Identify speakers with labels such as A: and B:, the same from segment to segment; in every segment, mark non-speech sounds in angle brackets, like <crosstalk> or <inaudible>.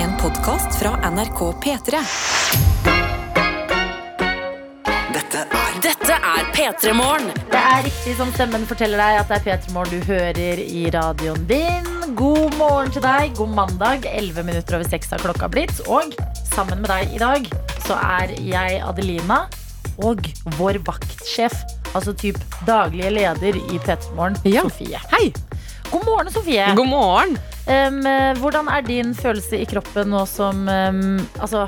A: En podkast fra NRK P3.
B: Dette er
C: Dette er P3 Morgen.
D: Det er riktig som stemmen forteller deg at det er P3 Morgen du hører i radioen din. God morgen til deg. God mandag. 11 minutter over seks har klokka blitt. Og sammen med deg i dag så er jeg Adelina og vår vaktsjef, altså typ daglige leder i P3 Morgen,
E: Ja.
D: Sofie.
E: Hei!
D: God morgen, Sofie.
E: God morgen!
D: Em, eh, hvordan er din følelse i kroppen nå som em, Altså,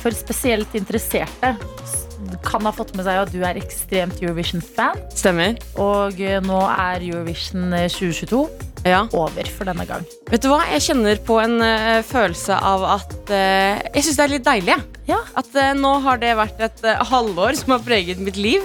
D: for spesielt interesserte s- kan ha fått med seg at du er ekstremt Eurovision-fan.
E: Stemmer.
D: Og eh, nå er Eurovision eh, 2022
E: Ja.
D: over for denne gang.
E: Vet du hva? Jeg kjenner på en eh, følelse av at eh, Jeg syns det er litt deilig. jeg.
D: Ja.
E: At eh, nå har det vært et eh, halvår som har preget mitt liv.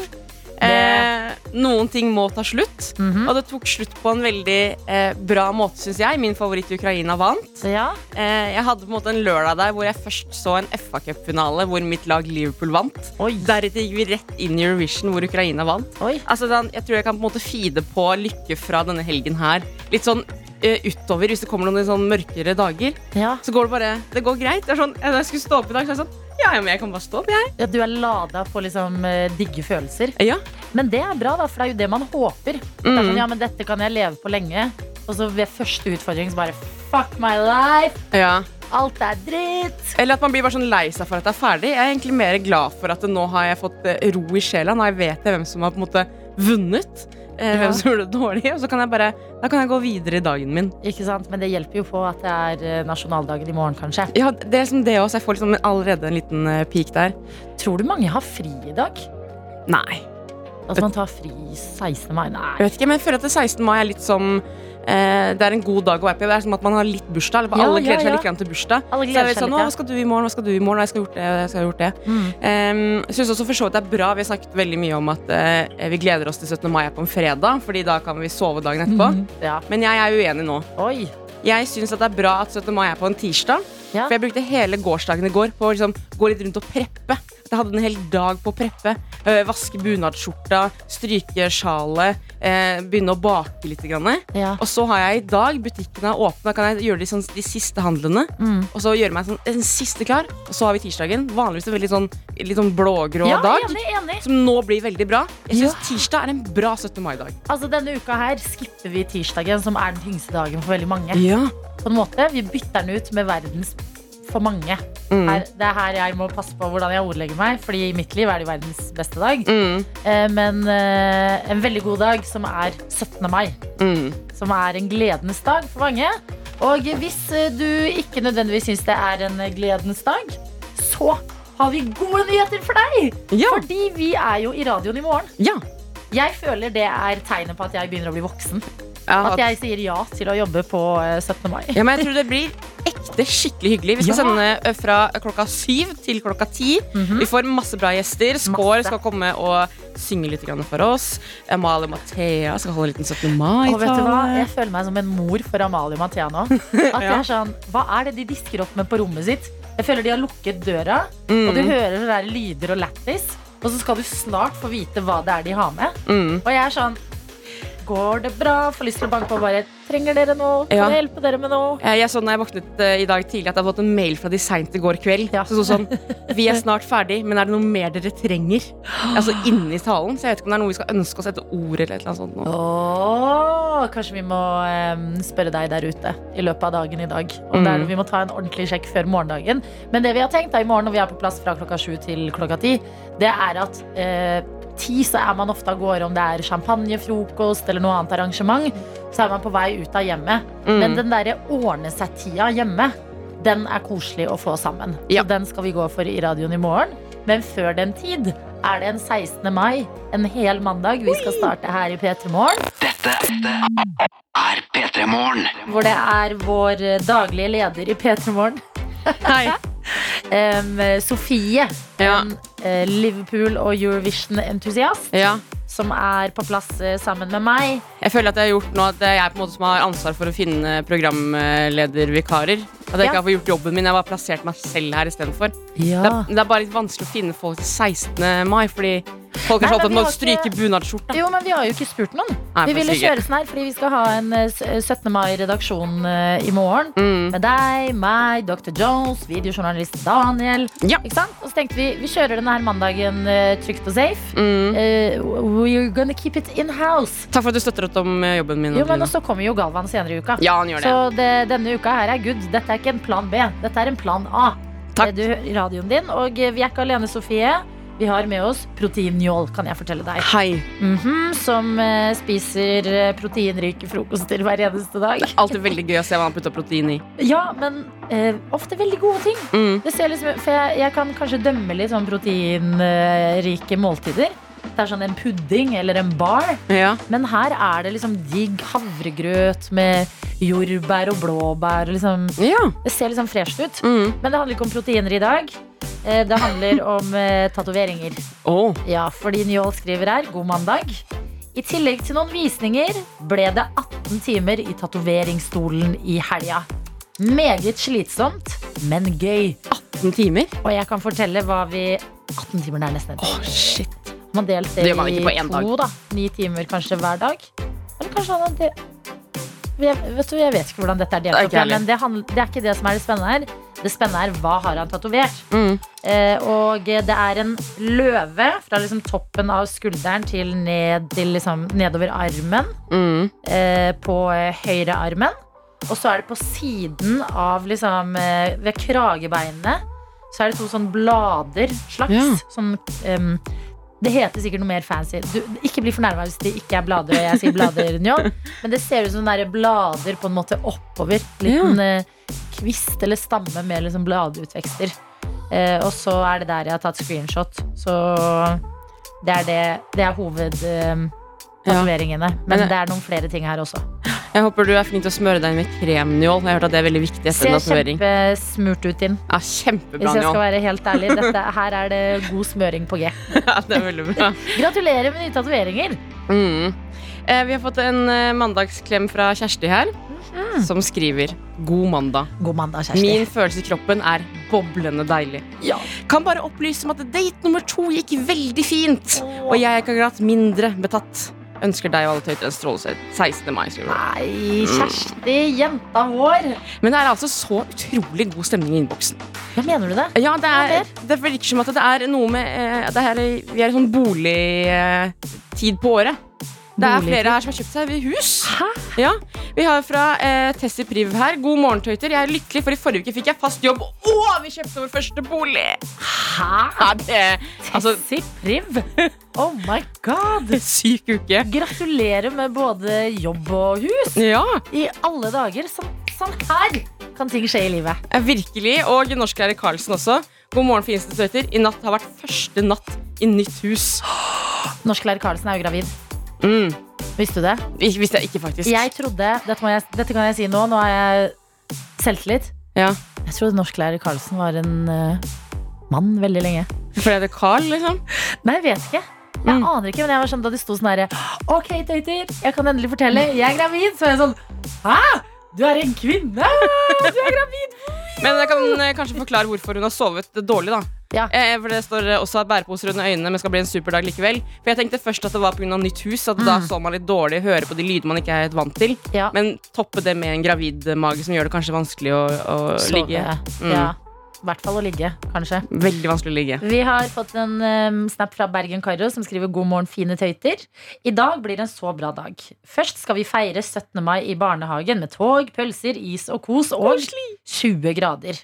E: Eh, noen ting må ta slutt,
D: Mhm.
E: og det tok slutt på en veldig eh, bra måte, syns jeg. Min favoritt i Ukraina vant.
D: Så ja,
E: Eh, jeg hadde på en måte en lørdag der hvor jeg først så en FA Cup-finale hvor mitt lag Liverpool vant.
D: oi,
E: Deretter gikk vi rett inn i Eurovision hvor Ukraina vant.
D: oi.
E: Altså, den, jeg tror jeg kan på en måte feede på lykke fra denne helgen her. Litt sånn eh, utover, hvis det kommer noen sånn mørkere dager.
D: Ja.
E: Så går det bare Det går greit. Det er sånn, eh, når jeg skulle stå opp i dag, så er det sånn Ja, ja, men jeg kan bare stå opp, jeg.
D: ja, du er lada på liksom eh, digge følelser.
E: Ja.
D: Men det er bra, da, for det er jo det man håper.
E: Mm.
D: Det er sånn, ja, men dette kan jeg leve på lenge. Og så ved første utfordring så bare fuck my life,
E: ja.
D: alt er dritt.
E: Eller at man blir bare sånn lei seg for at det er ferdig. Jeg er egentlig mer glad for at nå har jeg fått eh, ro i sjela. Nå vet jeg hvem som har på en måte vunnet. eh,
D: Ja.
E: Hvem som gjorde det dårlig. Og så kan jeg bare Da kan jeg gå videre i dagen min.
D: Ikke sant? Men det hjelper jo på at det er eh, nasjonaldagen i morgen, kanskje.
E: Ja, det er som det også. Jeg får liksom allerede en liten eh, peak der.
D: Tror du mange har fri i dag?
E: Nei.
D: Altså man tar fri 16. mai?
E: Jeg
D: Nei.
E: vet ikke, men jeg føler at det 16. mai er litt som eh, Det er en god dag å være på. Det er som at man har litt bursdag. Eller,
D: Ja,
E: alle gleder
D: ja,
E: seg
D: ja.
E: litt grann til bursdag.
D: Alle
E: Så jeg
D: gleder
E: vet
D: seg
E: sånn,
D: litt.
E: «Å,
D: ja.
E: Hva skal du i morgen? Hva skal du i morgen? «Nei, Jeg skal ha gjort det. Jeg skal ha gjort det.
D: Mm.
E: Um, synes også for så vidt det er bra. Vi har snakket veldig mye om at eh, vi gleder oss til 17. mai er på en fredag, Fordi da kan vi sove dagen etterpå.
D: Mm. Ja.
E: Men jeg er uenig nå.
D: Oi.
E: Jeg syns det er bra at 17. mai er på en tirsdag.
D: Ja.
E: For jeg brukte hele gårsdagen i går på å liksom, gå litt rundt og preppe. Jeg hadde en hel dag på å preppe. Eh, vaske bunadsskjorta, stryke sjalet, eh, begynne å bake litt. Grann.
D: Ja.
E: Og så har jeg i dag butikkene er åpne, da kan jeg gjøre de, sånn, de siste handlene.
D: Mm.
E: Og så gjøre meg sånn, en siste klar. Og så har vi tirsdagen. Vanligvis en veldig sånn, litt sånn blågrå
D: Ja,
E: dag.
D: enig, enig.
E: Som nå blir veldig bra. Jeg
D: Ja.
E: syns tirsdag er en bra 17. mai-dag.
D: Altså, denne uka her skipper vi tirsdagen, som er den tyngste dagen for veldig mange.
E: Ja.
D: På en måte, Vi bytter den ut med verdens for mange.
E: Mm.
D: Her, det er her jeg må passe på hvordan jeg ordlegger meg, Fordi i mitt liv er det verdens beste dag.
E: Mm.
D: Eh, Men eh, en veldig god dag, som er 17. mai.
E: Mm.
D: Som er en gledens dag for mange. Og hvis eh, du ikke nødvendigvis syns det er en gledens dag, så har vi gode nyheter for deg!
E: Ja.
D: Fordi vi er jo i radioen i morgen.
E: ja.
D: Jeg føler det er tegnet på at jeg begynner å bli voksen.
E: Ja,
D: At jeg sier ja til å jobbe på eh, 17. mai.
E: Ja, men jeg tror det blir ekte skikkelig hyggelig. Vi skal
D: Ja. Mhm.
E: sende ø, fra klokka syv til klokka ti. Vi får masse bra gjester. Skår
D: Masse.
E: skal komme og synge litt grann for oss. Amalie Mathea skal holde en liten 17.
D: Og vet du hva? Jeg
E: mai-tale.
D: føler meg som en mor for Amalie og Mathea <laughs> nå. At jeg
E: Ja.
D: er sånn, Hva er det de disker opp med på rommet sitt? Jeg føler de har lukket døra, og du
E: Mm,
D: hører sånne der lyder og lættis. Og så skal du snart få vite hva det er de har med.
E: mm.
D: Og jeg er sånn Går det bra? Får lyst til å banke på og bare Trenger dere noe? Kan
E: Ja.
D: jeg hjelpe dere med noe?
E: Eh, Jeg jeg så når jeg våknet ø, i dag tidlig at jeg hadde fått en mail fra de seint i går kveld.
D: Ja.
E: Så det sto sånn Vi er snart ferdig, men er det noe mer dere trenger? Altså inni talen. Så jeg vet ikke om det er noe vi skal ønske oss etter ord eller et eller annet sånt. nå.
D: Åh, kanskje vi må eh, spørre deg der ute i løpet av dagen i dag. Om det er noe vi må ta en ordentlig sjekk før morgendagen. Men det vi har tenkt da i morgen når vi er på plass fra klokka sju til klokka ti, det er at eh, ti så er man ofte av gårde om det er champagnefrokost eller noe annet arrangement. Så er man på vei ut av hjemmet.
E: Mm.
D: Men den derre ordne seg-tida hjemme, den er koselig å få sammen.
E: Ja.
D: Så den skal vi gå for i radioen i morgen. Men før den tid er det en 16. mai, en hel mandag. Vi skal starte her i P3 Morgen.
B: Dette er P3 Morgen.
D: hvor det er vår eh, daglige leder i P3 Morgen,
E: Hei.
D: em, Sofie.
E: Ja.
D: En eh, Liverpool- og Eurovision-entusiast
E: Ja.
D: som er på plass eh, sammen med meg.
E: Jeg føler at jeg har gjort nå at det er jeg på en måte som har ansvar for å finne programledervikarer. At jeg
D: Ja.
E: ikke har fått gjort jobben min. Jeg har bare
D: Ah.
E: plassert meg selv her istedenfor. Det, er- det er bare litt vanskelig å finne folk til 16. mai, fordi Folk
D: Nei,
E: er så opptatt
D: men
E: med
D: vi
E: å
D: har ikke-
E: stryke bunadsskjorta.
D: Jo, men vi har jo ikke spurt noen.
E: Nei,
D: Vi ville
E: faktisk ikke.
D: kjøre sånn her fordi vi skal ha en eh, s- 17. mai-redaksjon eh, i morgen.
E: Mm.
D: Med deg, meg, Dr. Jones, videojournalist Daniel.
E: Ja.
D: Ikke sant? Og så tenkte vi vi kjører denne her mandagen eh, trygt og safe.
E: Mm.
D: Eh, we're gonna keep it in house.
E: Takk for at du støtter opp om eh, jobben min.
D: Jo, men
E: Adelina.
D: Og så kommer jo Galvan senere i uka.
E: Ja, han gjør det.
D: Så det, denne uka her er good. Dette er ikke en plan B, dette er en plan A.
E: Takk.
D: Du hører radioen din, og eh, vi er ikke alene, Sofie. Vi har med oss proteinnjål, kan jeg fortelle deg.
E: Hei.
D: Mhm, som eh, spiser eh, proteinrike frokoster hver eneste dag.
E: Alltid veldig gøy å se hva han putter protein i.
D: Ja, men eh, ofte veldig gode ting.
E: Mm.
D: Det ser liksom, for jeg, jeg kan kanskje dømme litt sånn proteinrike måltider. Det er sånn en pudding eller en bar.
E: Ja.
D: Men her er det liksom digg havregrøt med jordbær og blåbær. og Liksom.
E: ja.
D: Det ser liksom fresht ut.
E: Mm.
D: Men det handler ikke om proteiner i dag. Eh, Det handler om eh, tatoveringer.
E: Åh.
D: Ja, fordi Njål skriver her God mandag I tillegg til noen visninger Ble det 18 timer i tatoveringsstolen i helga Meget slitsomt Men gøy
E: 18 timer?
D: Og jeg kan fortelle hva vi 18 timer det er nesten en time.
E: shit.
D: Man delte
E: Det gjør man ikke på
D: i
E: en
D: to da 9 timer kanskje hver dag Eller kanskje han hadde jeg, vet du, jeg vet ikke hvordan dette er
E: Det
D: delt
E: er ikke
D: opp, ja,
E: jeg heller.
D: Men det, handl- det er ikke det som er det spennende her Det spennende er hva har han tatovert
E: Mm.
D: Eh, og det er en løve fra liksom toppen av skulderen til, ned, til liksom nedover armen.
E: Mm.
D: Eh, på eh, høyre armen. Og så er det på siden av liksom eh, Ved kragebeinene så er det to sånn blader. Slags.
E: Ja.
D: Sånn em, Det heter sikkert noe mer fancy. Du, ikke bli fornærma hvis det ikke er blader, og jeg sier blader, Njål. Men det ser ut som sånne der blader på en måte oppover. Liten eh, kvist eller stamme med liksom bladutvekster. Eh, og så er det der jeg har tatt screenshot. Så det er det. Det er eh, hovedtatoveringene.
E: Men
D: Men
E: det-
D: det er noen flere ting her også.
E: Jeg håper du er flink til å smøre deg med krem, Njål. Jeg har hørt at det er veldig viktig etter en
D: Ser
E: tatovering.
D: kjempesmurt ut inn.
E: Ja,
D: Hvis
E: kjempebra,
D: jeg skal
E: Njål.
D: være helt ærlig.
E: <laughs>
D: Dette, her er det god smøring på G.
E: Ja, det er veldig bra.
D: Gratulerer med nye tatoveringer.
E: <laughs> Mm. Eh, vi har fått en eh, mandagsklem fra Kjersti her, som skriver God mandag.
D: God mandag, Mm. Kjersti.
E: Min følelse i kroppen er boblende deilig.
D: Ja.
E: Kan bare opplyse om at date nummer to gikk veldig fint, og jeg er ikke akkurat mindre betatt. Ønsker deg og alle tøyter en strålesøt 16. mai. skriver hun.
D: Nei, Kjersti, jenta vår.
E: Men det er altså så utrolig god stemning i innboksen.
D: Hva mener du det?
E: Ja, det,
D: Ja,
E: er, det virker som at det er noe med eh, det her, er- Vi er i sånn boligtid på året. Det er
D: Bolig-
E: flere her som har kjøpt seg hus. Ja, Vi har fra eh, Tessie Priv her. God morgen, tøyter. Jeg er lykkelig, for i forrige uke fikk jeg fast jobb, og vi kjøpte vår første bolig!
D: Hæ?
E: Ja, det, altså,
D: Tessi Priv? Oh my god.
E: syk uke.
D: Gratulerer med både jobb og hus.
E: Ja,
D: I alle dager. Sånn, sånn her kan ting skje i livet.
E: eh, virkelig. Og norsklærer Karlsen også. God morgen, fineste tøyter. I natt har vært første natt i nytt hus.
D: Norsklærer Karlsen er jo gravid.
E: Mm.
D: Visste du det?
E: Ik- Visste jeg ikke, faktisk.
D: Jeg trodde, dette, må jeg, dette kan jeg si nå, nå har jeg selvtillit.
E: Ja.
D: Jeg trodde norsklærer Karlsen var en eh, mann veldig lenge.
E: Fordi det er Carl, liksom.
D: Nei, jeg vet ikke.
E: Mm.
D: Jeg aner ikke, men jeg var sånn da de sto sånn herre OK, tøyter, jeg kan endelig fortelle. Jeg er gravid. Så var jeg sånn Hæ? Du er en kvinne? Du er gravid?
E: Men jeg kan eh, kanskje forklare hvorfor hun har sovet dårlig, da.
D: Ja.
E: Eh, for det står eh, også bæreposer under øynene, men skal bli en superdag likevel. For jeg tenkte først at det var pga. nytt hus, at
D: Mm.
E: da så man litt dårlig, hører på de lyder man ikke er helt vant til.
D: Ja.
E: Men toppe det med en gravid mage som gjør det kanskje vanskelig å, å
D: Sove.
E: ligge. Mm.
D: Ja. I hvert fall å ligge, kanskje.
E: Veldig vanskelig å ligge.
D: Vi har fått en em, snap fra Bergen Karo som skriver God morgen, fine tøyter. I dag blir en så bra dag. Først skal vi feire 17. mai i barnehagen med tog, pølser, is og kos og 20 grader.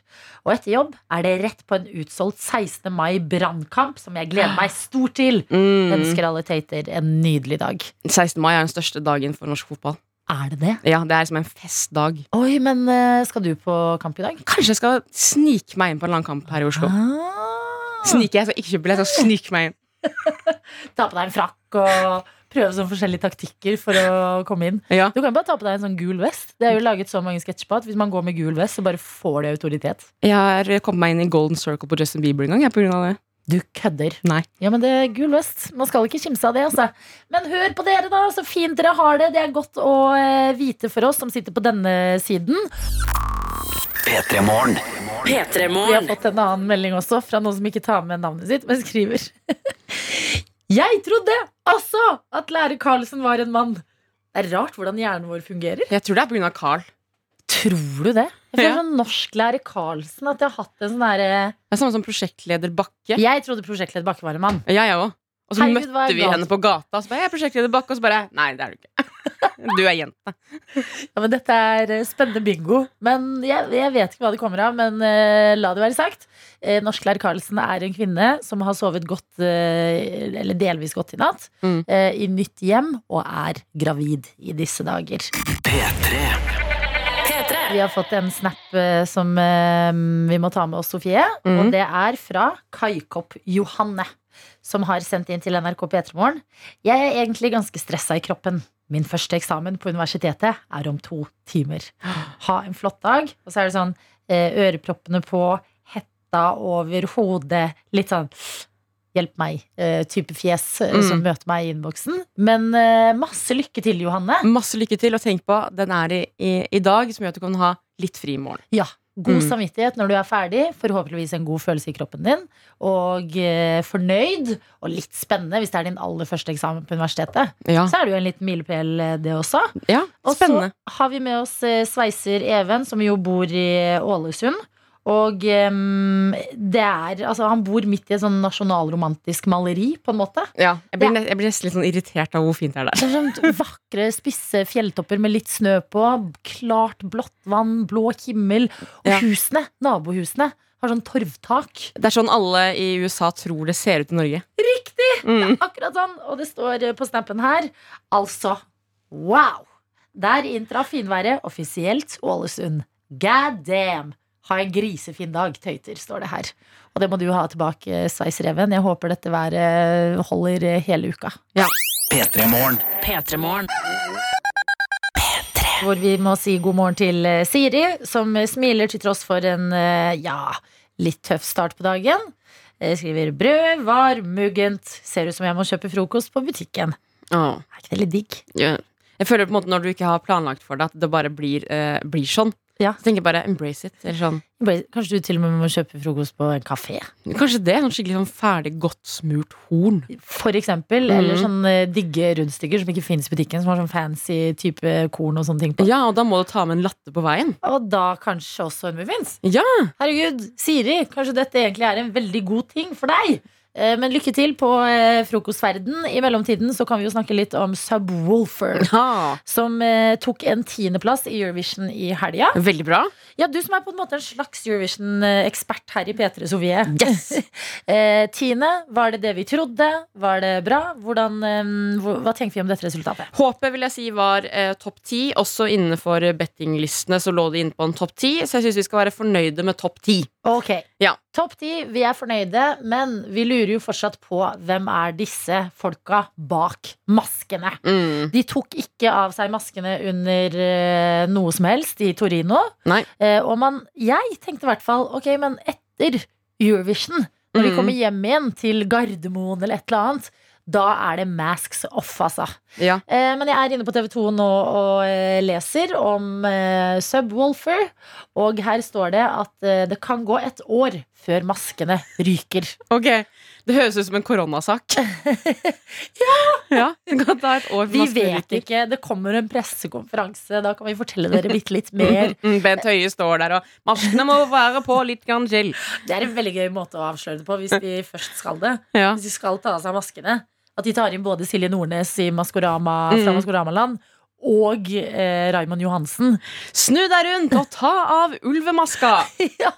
D: Og etter jobb er det rett på en utsolgt 16. mai brannkamp, som jeg gleder meg stort til.
E: Mm.
D: Ønsker alle tøyter en nydelig dag.
E: 16. mai er den største dagen for norsk fotball.
D: Er det det?
E: Ja, Det er som en festdag.
D: Oi, men eh, skal du på kamp i dag?
E: Kanskje jeg skal snike meg inn på en langkamp her i Oslo.
D: Ah.
E: Snike, Jeg skal ikke kjøpe billett, jeg skal snike meg inn.
D: Ta på deg en frakk og prøve sånn forskjellige taktikker for å komme inn.
E: Ja.
D: Du kan bare ta på deg en sånn gul vest. Det er jo laget så mange sketsjer på at hvis man går med gul vest, så bare får det autoritet.
E: Jeg har kommet meg inn i Golden Circle på Justin Bieber en gang. Jeg, på grunn av det.
D: Du kødder.
E: Nei.
D: Ja, men det er gul vest. Man skal ikke kimse av det, altså. Men hør på dere, da. Så fint dere har det. Det er godt å eh, vite for oss som sitter på denne siden.
B: P3-morgen.
C: P3
D: Vi har
C: Morgen.
D: fått en annen melding også fra noen som ikke tar med navnet sitt, men skriver. <laughs> Jeg trodde altså at lærer Karlsen var en mann. Det er rart hvordan hjernen vår fungerer.
E: Jeg tror det er pga. Carl.
D: Tror du det? Jeg føler
E: Ja.
D: sånn norsklærer Karlsen at jeg har hatt en sånn derre
E: Det er samme som prosjektleder Bakke.
D: Jeg trodde prosjektleder Bakke var en mann.
E: Jeg, jeg også. Og så
D: Herregud, hva er
E: møtte vi
D: galt?
E: henne på gata, og så bare, jeg er prosjektleder Bakke, og så bare Nei, det er du ikke. <laughs> Du er jente.
D: Ja, men Dette er eh, spennende bingo. Men Jeg, jeg vet ikke hva det kommer av, men eh, la det være sagt. Eh, Norsklærer Karlsen er en kvinne som har sovet godt, eh, eller delvis godt i natt,
E: Mm.
D: eh, i nytt hjem, og er gravid i disse dager.
B: P3.
D: Vi har fått en snap eh, som eh, vi må ta med oss, Sofie.
E: Mhm.
D: Og det er fra Kaikopp Johanne, som har sendt inn til NRK P3 Morgen. Jeg er egentlig ganske stressa i kroppen. Min første eksamen på universitetet er om to timer. Ha en flott dag. Og så er det sånn eh, øreproppene på, hetta over hodet, litt sånn Hjelp meg-type fjes eh, som
E: Mm.
D: møter meg i innboksen. Men eh, masse lykke til, Johanne.
E: Masse lykke til, og tenk på den er i, i, i dag, som gjør at du kan ha litt fri i morgen.
D: Ja, god
E: Mm.
D: samvittighet når du er ferdig. Forhåpentligvis en god følelse i kroppen din. Og eh, fornøyd, og litt spennende hvis det er din aller første eksamen på universitetet.
E: Ja,
D: Så er det jo en liten milepæl, eh, det også.
E: ja
D: Og
E: Spennende.
D: så har vi med oss eh, sveiser Even, som jo bor i eh, Ålesund. Og em, det er Altså, han bor midt i et sånn nasjonalromantisk maleri, på en måte.
E: Ja, jeg, blir
D: Ja.
E: ne- jeg blir nesten litt sånn irritert av hvor fint det er der.
D: Det er sånn vakre, spisse fjelltopper med litt snø på. Klart blått vann, blå himmel. Og
E: Ja.
D: husene, nabohusene, har sånn torvtak.
E: Det er sånn alle i USA tror det ser ut i Norge.
D: Riktig!
E: Mm.
D: Akkurat sånn. Og det står eh, på snappen her. Altså, wow! Der inntraff finværet offisielt Ålesund. God damn! Ha en grisefin dag, tøyter, står det her. Og det må du ha tilbake, Sveisereven. Jeg håper dette været holder eh, hele uka.
B: P3 Morgen.
C: P3morgen.
D: Hvor vi må si god morgen til eh, Siri, som eh, smiler til tross for en eh, ja, litt tøff start på dagen. Eh, Skriver 'brød var muggent'. Ser ut som jeg må kjøpe frokost på butikken.
E: Åh,
D: Er ikke det litt digg?
E: ja. Jeg føler på en måte når du ikke har planlagt for det, at det bare blir, eh, blir sånn.
D: Ja.
E: Så tenker jeg bare embrace it. Eller sånn.
D: Bare- Kanskje du til og med må kjøpe frokost på en kafé?
E: Kanskje det. Sånn skikkelig sånn ferdig, godt smurt horn.
D: For eksempel. Eller sånn eh, digge rundstykker som ikke fins i butikken, som har sånn fancy type korn og sånne ting på.
E: Ja, og da må du ta med en latte på veien.
D: Og da kanskje også en muffins.
E: Ja!
D: Herregud, Siri, kanskje dette egentlig er en veldig god ting for deg. Eh, Men lykke til på eh, frokostverden. I mellomtiden så kan vi jo snakke litt om Subwoolfer.
E: ja.
D: <laughs> Som eh, tok en tiendeplass i Eurovision i helga.
E: Veldig bra.
D: Ja, du som er på en måte en slags Eurovision-ekspert her i P3, Sofie.
E: Yes.
D: <laughs> Eh, tiende, var det det vi trodde? Var det bra? Hvordan, eh, hva- hva tenker vi om dette resultatet?
E: Håpet vil jeg si var eh, topp ti. Også innenfor bettinglistene så lå de inne på en topp ti, så jeg syns vi skal være fornøyde med topp ti.
D: Ok,
E: Ja.
D: Topp ti, vi er fornøyde, men vi lurer jo fortsatt på hvem er disse folka bak maskene.
E: Mm.
D: De tok ikke av seg maskene under eh, noe som helst i Torino.
E: Nei.
D: Eh, og man, jeg tenkte i hvert fall ok, men etter Eurovision, når vi
E: Mm.
D: kommer hjem igjen til Gardermoen eller et eller annet, da er det masks off, altså.
E: Ja.
D: Eh, men jeg er inne på TV 2 nå og eh, leser om eh, Subwoolfer. Og her står det at eh, det kan gå et år før maskene ryker.
E: Ok, Det høres ut som
D: <laughs>
E: en koronasak. ja! Det kan ta et år for
D: Vi
E: maskene
D: vet
E: ryker.
D: ikke. Det kommer en pressekonferanse. Da kan vi fortelle dere bitte litt mer.
E: <laughs> Mm, Bent Høie står der og Maskene må være på litt grann til.
D: <laughs> Det er en veldig gøy måte å avsløre det på hvis de først skal det.
E: Ja.
D: Hvis de skal ta av seg maskene. At de tar inn både Silje Nordnes i Maskorama fra
E: Mm.
D: Maskoramaland og eh, Raymond Johansen. <laughs>
E: Snu deg rundt og ta av ulvemaska!
D: ja,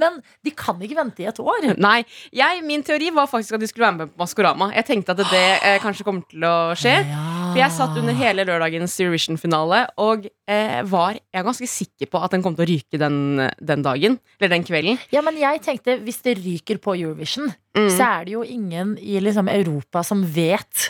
D: men de kan ikke vente i et år.
E: <laughs> Nei, jeg, Min teori var faktisk at de skulle være med på Maskorama. Jeg tenkte at det eh, kanskje kommer til å skje. For jeg satt under hele lørdagens Eurovision-finale og eh, var jeg er ganske sikker på at den kom til å ryke den, den dagen. Eller den kvelden.
D: Ja, men jeg tenkte Hvis det ryker på Eurovision,
E: Mm.
D: så er det jo ingen i liksom, Europa som vet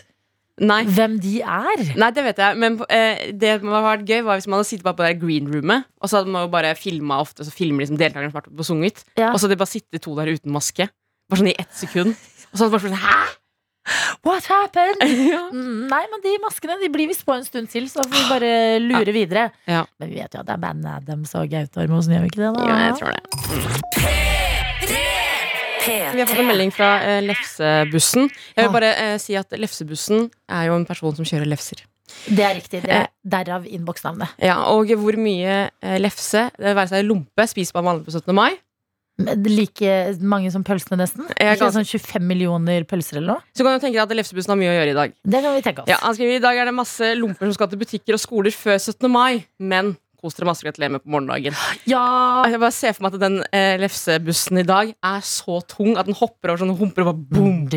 E: Nei.
D: hvem de er.
E: Nei, det vet jeg, men eh, det som hadde vært gøy, var hvis man hadde sittet bare på det der green roomet, og så hadde man jo bare filma ofte, så filmer liksom deltakerne som har vært oppe og sunget,
D: Ja.
E: og så hadde de bare sittet to der uten maske, bare sånn i ett sekund, og så hadde det bare sånn Hæ?!
D: What happened? <laughs>
E: Ja.
D: Mm, Nei, men de maskene de blir visst på en stund til, så får vi bare lure videre.
E: Ja.
D: Men vi vet jo at det er bandet Adams og Gaute Ormosen, gjør vi ikke det? da?
E: Ja, jeg tror det. Vi har fått en melding fra eh, Lefsebussen. Jeg vil bare eh, si at Lefsebussen er jo en person som kjører lefser.
D: Det er riktig. Det er derav innboksnavnet.
E: Ja, Og hvor mye eh, lefse, det være seg lompe, spiser man vanlig på 17. mai.
D: Men Like mange som pølsene, nesten.
E: Jeg
D: Ikke
E: kan-
D: sånn 25 millioner pølser eller noe.
E: Så kan du tenke deg at Lefsebussen har mye å gjøre i dag.
D: Det kan vi tenke oss.
E: Ja, han skriver I dag er det masse lomper som skal til butikker og skoler før 17. mai, men kos dere masse gratulerer med på morgendagen. Ah,
D: Ja,
E: Jeg bare ser for meg at den eh, lefsebussen i dag er så tung at den hopper over sånne humper og bare boom.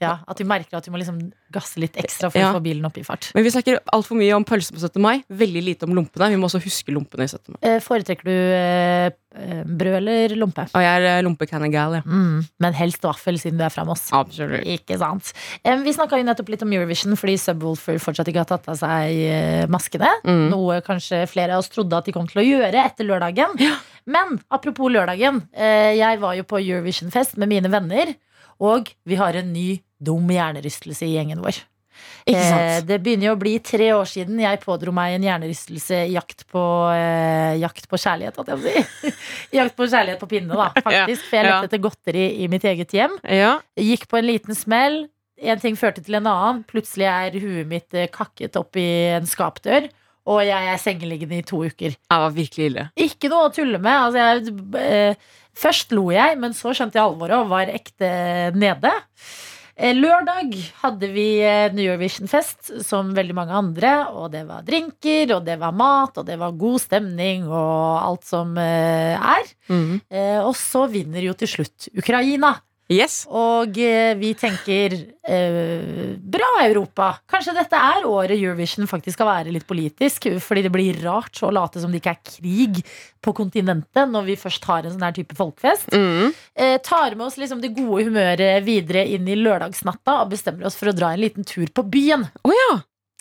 D: ja, At du merker at du må liksom gasse litt ekstra for
E: Ja.
D: å få bilen opp i fart.
E: Men vi snakker altfor mye om pølser på 17. mai, veldig lite om lompene. Vi må også huske lompene i 17. mai.
D: Eh, Foretrekker du eh, eh, brød eller lompe?
E: Og jeg er eh, lompecannagal, ja.
D: Mm, men helst vaffel, siden du er fra Moss.
E: Absolutt.
D: Ikke sant. Eh, Vi snakka jo nettopp litt om Eurovision fordi Subwoolfer fortsatt ikke har tatt av seg eh, maskene.
E: Mm.
D: Noe kanskje flere av oss trodde at de kom til å gjøre etter lørdagen. Men apropos lørdagen. eh, Jeg var jo på Eurovision-fest med mine venner, og vi har en ny dum hjernerystelse i gjengen vår.
E: Ikke
D: Eh,
E: sant?
D: Det begynner jo å bli tre år siden jeg pådro meg en hjernerystelse i jakt på, eh, jakt på kjærlighet, holdt jeg på å si. <laughs> I jakt på kjærlighet på pinne, da, faktisk. For jeg
E: <laughs> ja.
D: lette etter godteri i mitt eget hjem.
E: Ja.
D: Gikk på en liten smell. En ting førte til en annen. Plutselig er huet mitt eh, kakket opp i en skapdør. Og jeg er sengeliggende i to uker.
E: Jeg var virkelig ille.
D: Ikke noe å tulle med. Altså, jeg, eh, først lo jeg, men så skjønte jeg alvoret og var ekte nede. Eh, Lørdag hadde vi eh, New Eurovision-fest, som veldig mange andre. Og det var drinker, og det var mat, og det var god stemning, og alt som eh, er.
E: Mm.
D: Eh, Og så vinner jo til slutt Ukraina.
E: Yes.
D: Og eh, vi tenker eh, bra, Europa. Kanskje dette er året Eurovision faktisk skal være litt politisk. Fordi det blir rart å late som det ikke er krig på kontinentet når vi først har en sånn her type folkefest.
E: Mm.
D: Eh, tar med oss liksom det gode humøret videre inn i lørdagsnatta og bestemmer oss for å dra en liten tur på byen.
E: Å ja.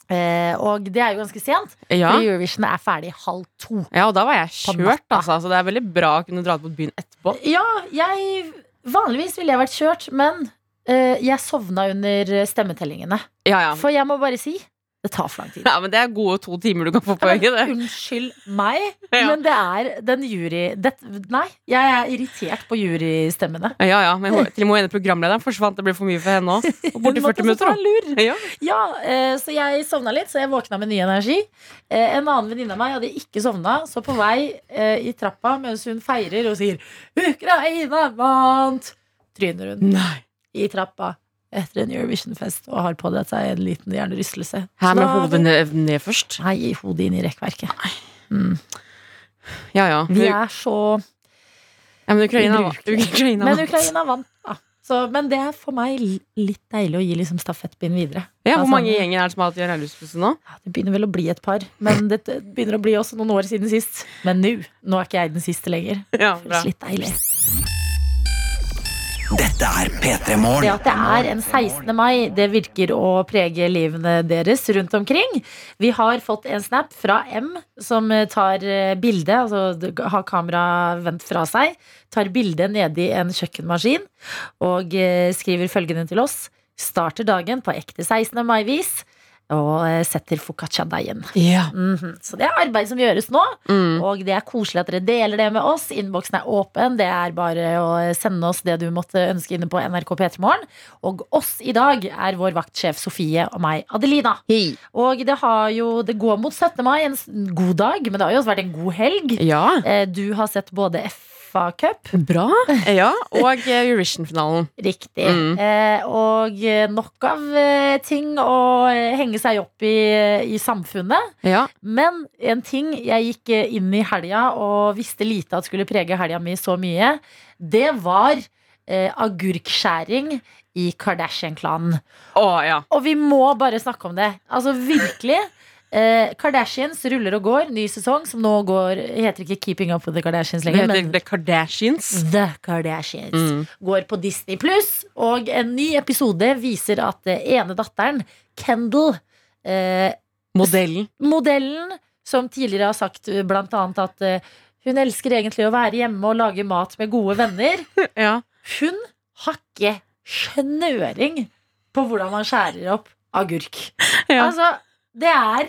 D: Eh, og det er jo ganske sent,
E: ja.
D: fordi Eurovision er ferdig halv to.
E: Ja, og da var jeg
D: På
E: kjørt,
D: natta.
E: altså. Så det er veldig bra å kunne dra på byen etterpå.
D: Ja, jeg Vanligvis ville jeg vært kjørt, men eh, jeg sovna under stemmetellingene.
E: Ja, ja.
D: For jeg må bare si det tar for lang tid.
E: ja, men det er gode to timer du kan få på
D: Men
E: øyet, det.
D: Unnskyld meg,
E: <laughs> Ja.
D: men det er den jury... Det, nei, jeg er irritert på jurystemmene.
E: Ja, ja, men hun- til og med hun ene programlederen forsvant. Det ble for mye for henne òg. Borti
D: Hun måtte
E: 40
D: også
E: minutter.
D: ta en lur.
E: da. <laughs> Ja.
D: Ja, eh, så jeg sovna litt, så jeg våkna med ny energi. Eh, En annen venninne av meg hadde ikke sovna, så på vei eh, i trappa mens hun feirer og sier 'Ukraina vant', tryner hun
E: Nei.
D: i trappa etter en Eurovision-fest og har pådratt seg en liten hjernerystelse.
E: Her
D: Så
E: med
D: da har vi-
E: hodet ned, ned først.
D: Nei, i hodet inn i rekkverket.
E: Ja, ja.
D: Vi er så
E: ja men Ukraina, var-
D: Ubrukelig.
E: Ukraina
D: Men
E: vant. <laughs>
D: Ukraina vant, da. Så, men det er for meg li- litt deilig å gi liksom stafettpinnen videre.
E: Ja, Hvor
D: Altså,
E: mange gjenger er det som har hatt hjernerystelse nå?
D: Ja, det begynner vel å bli et par, men det det begynner å bli også noen år siden sist. Men nå nå er ikke jeg den siste lenger.
E: Ja, bra.
D: Føles litt deilig.
B: Dette er P3
D: Det
B: Morgen.
D: at det er en 16. mai, det virker å prege livene deres rundt omkring. Vi har fått en snap fra M, som tar eh, bilde, altså d- har kameraet vendt fra seg, tar bilde nedi en kjøkkenmaskin og eh, skriver følgende til oss. Starter dagen på ekte 16. mai-vis og eh, setter foccacciadeigen.
E: Ja.
D: Mhm. Så det er arbeid som gjøres nå.
E: Mm.
D: Og det er koselig at dere deler det med oss. Innboksen er åpen. Det er bare å sende oss det du måtte ønske inne på NRK P3morgen. Og oss i dag er vår vaktsjef Sofie og meg, Adelina. Og det, har jo, det går mot 17. mai, en s- god dag, men det har jo også vært en god helg.
E: ja.
D: Eh, Du har sett både FA Cup,
E: Bra. Ja, og eh, Eurovision-finalen.
D: riktig,
E: Mm.
D: eh, og eh, nok av eh, ting å eh, henge seg opp i, eh, i samfunnet.
E: Ja.
D: Men en ting jeg gikk eh, inn i helga og visste lite at skulle prege helga mi så mye, det var eh, agurkskjæring i Kardashian-klanen.
E: Å, ja.
D: Og vi må bare snakke om det. Altså virkelig. Eh, Kardashians ruller og går, ny sesong som nå går heter ikke Keeping Up With The Kardashians
E: Det
D: lenger,
E: heter
D: men
E: The Kardashians.
D: The Kardashians
E: Mm.
D: går på Disney Pluss, og en ny episode viser at eh, ene datteren, Kendal, eh,
E: Modellen.
D: modellen som tidligere har sagt eh, blant annet at eh, hun elsker egentlig å være hjemme og lage mat med gode venner.
E: <laughs> Ja.
D: Hun har ikke snøring på hvordan man skjærer opp agurk.
E: Ja.
D: Altså, det er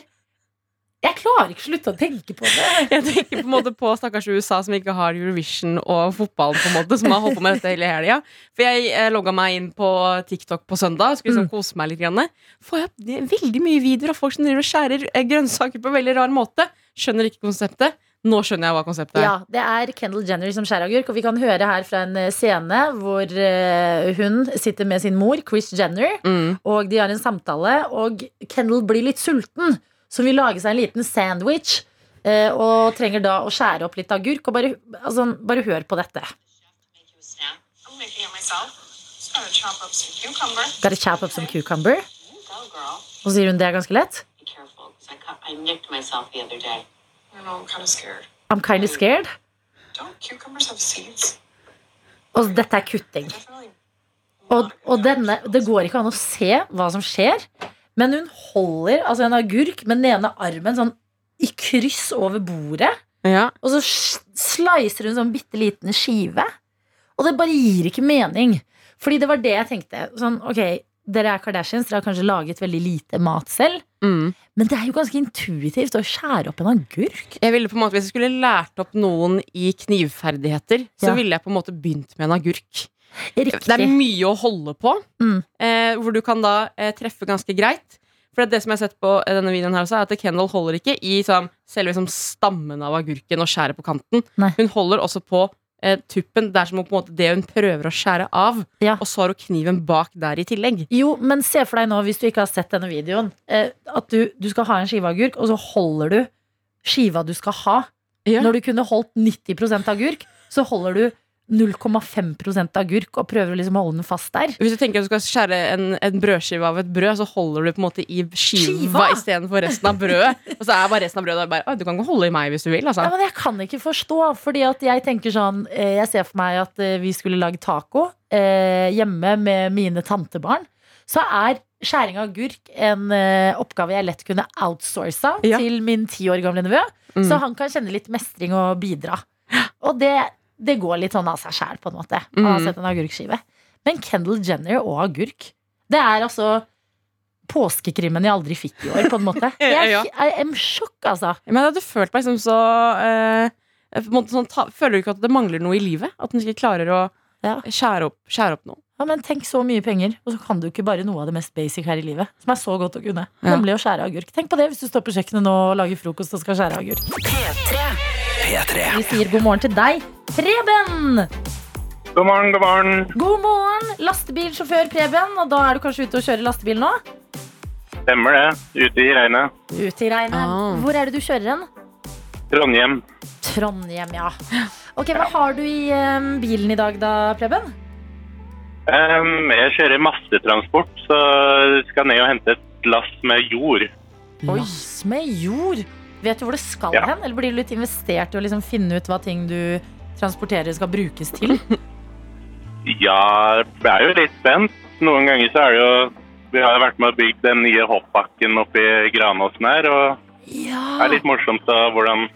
D: Jeg klarer ikke slutte å tenke på det.
E: Jeg tenker på en måte på stakkars USA som ikke har Eurovision og fotballen, på en måte, som har holdt på med dette hele helga. For jeg eh, logga meg inn på TikTok på søndag. Skulle liksom kose meg litt. Grann. Får jeg det er veldig mye videoer av folk som driver og skjærer eh, grønnsaker på en veldig rar måte. Skjønner ikke konseptet. Nå skjønner jeg hva konseptet er.
D: Ja, Det er Kendal Jenner som skjærer agurk, og vi kan høre her fra en eh, scene hvor eh, hun sitter med sin mor, Chris Jenner,
E: Mm.
D: og de har en samtale, og Kendal blir litt sulten, så vil lage seg en liten sandwich, eh, og trenger da å skjære opp litt agurk, og bare, altså, bare hør på dette.
F: Now, I'm making it myself. Just gotta chop up some cucumber.
D: Gotta chop up some cucumber.
F: There you go, girl.
D: Og så sier hun det er ganske lett.
F: Be careful, because I, cut, I nicked myself the other day.
G: I don't know, I'm kind of scared.
D: I'm kind of scared.
G: Don't cucumbers have seeds?
D: Og dette er kutting.
G: Definitely.
D: Og, og denne, det går ikke an å se hva som skjer, men hun holder altså en agurk med den ene armen sånn i kryss over bordet,
E: Ja.
D: og så s- slicer hun sånn bitte liten skive. Og det bare gir ikke mening. Fordi det var det jeg tenkte. Sånn, ok, Dere er Kardashians, dere har kanskje laget veldig lite mat selv.
E: Mm.
D: Men det er jo ganske intuitivt å skjære opp en agurk.
E: Jeg ville på en måte, Hvis jeg skulle lært opp noen i knivferdigheter, så
D: Ja.
E: ville jeg på en måte begynt med en agurk. Det er
D: Riktig.
E: mye å holde på,
D: Mm.
E: eh, hvor du kan da eh, treffe ganske greit. For det som jeg har sett på eh, denne videoen her også, er at Kendall holder ikke i sånn, selve liksom, stammen av agurken og skjæret på kanten.
D: Nei.
E: Hun holder også på eh, tuppen. Det er som om på en måte det hun prøver å skjære av,
D: Ja.
E: og så har hun kniven bak der i tillegg.
D: Jo, men se for deg nå, hvis du ikke har sett denne videoen, eh, at du, du skal ha en skive agurk, og så holder du skiva du skal ha.
E: Ja.
D: Når du kunne holdt 90 agurk, så holder du 0,5 agurk og prøver å liksom holde den fast der.
E: Hvis du tenker at du skal skjære en, en brødskive av et brød, så holder du på en måte i skiva
D: Skiva?
E: istedenfor resten
D: <laughs>
E: av brødet. Og så er bare resten av brødet bare, «Å, Du kan ikke holde i meg hvis du vil.
D: Ja,
E: Altså.
D: men jeg kan ikke forstå, fordi at jeg tenker sånn eh, Jeg ser for meg at eh, vi skulle lage taco eh, hjemme med mine tantebarn. Så er skjæring av agurk en eh, oppgave jeg lett kunne outsourca
E: Ja.
D: til min ti år gamle nevø.
E: Mm.
D: Så han kan kjenne litt mestring og bidra. Og det, det går litt sånn av seg sjæl, på en måte. Han har
E: Mm.
D: sett en agurkskive. Men Kendal Jenner og agurk, det er altså påskekrimmen jeg aldri fikk i år, på en
E: <laughs>
D: måte. Jeg
E: Ja.
D: er, jeg er sjokk, altså.
E: Men jeg hadde følt meg liksom så eh, på en måte sånn, ta, Føler du ikke at det mangler noe i livet? At den ikke klarer å
D: Ja.
E: skjære, opp, skjære opp noe?
D: Ja, men tenk så mye penger, og så kan du ikke bare noe av det mest basic her i livet. Som er så godt å kunne.
E: Ja.
D: Nemlig å skjære agurk. Tenk på det hvis du står på kjøkkenet nå og lager frokost og skal skjære agurk.
B: P3.
D: Vi sier god morgen til deg, Preben!
H: God morgen, god morgen.
D: God morgen, lastebilsjåfør Preben. Og da er du kanskje ute og kjører lastebil nå?
H: Stemmer det. Ute i regnet.
D: Ute i regnet.
E: Ah.
D: Hvor er det du kjører hen?
H: Trondheim.
D: Trondheim, ja. Ok, Hva har du i eh, bilen i dag da, Preben?
H: Ehm, jeg kjører massetransport, så skal ned og hente et lass med jord.
D: Lass med jord. Vet du hvor det skal
H: Ja.
D: hen? Eller blir du litt investert i å liksom finne ut hva ting du transporterer skal brukes til?
H: Ja, jeg er jo litt spent. Noen ganger så er det jo Vi har jo vært med og bygd den nye hoppbakken oppe i Granåsen her, og det
D: Ja.
H: er litt morsomt da hvordan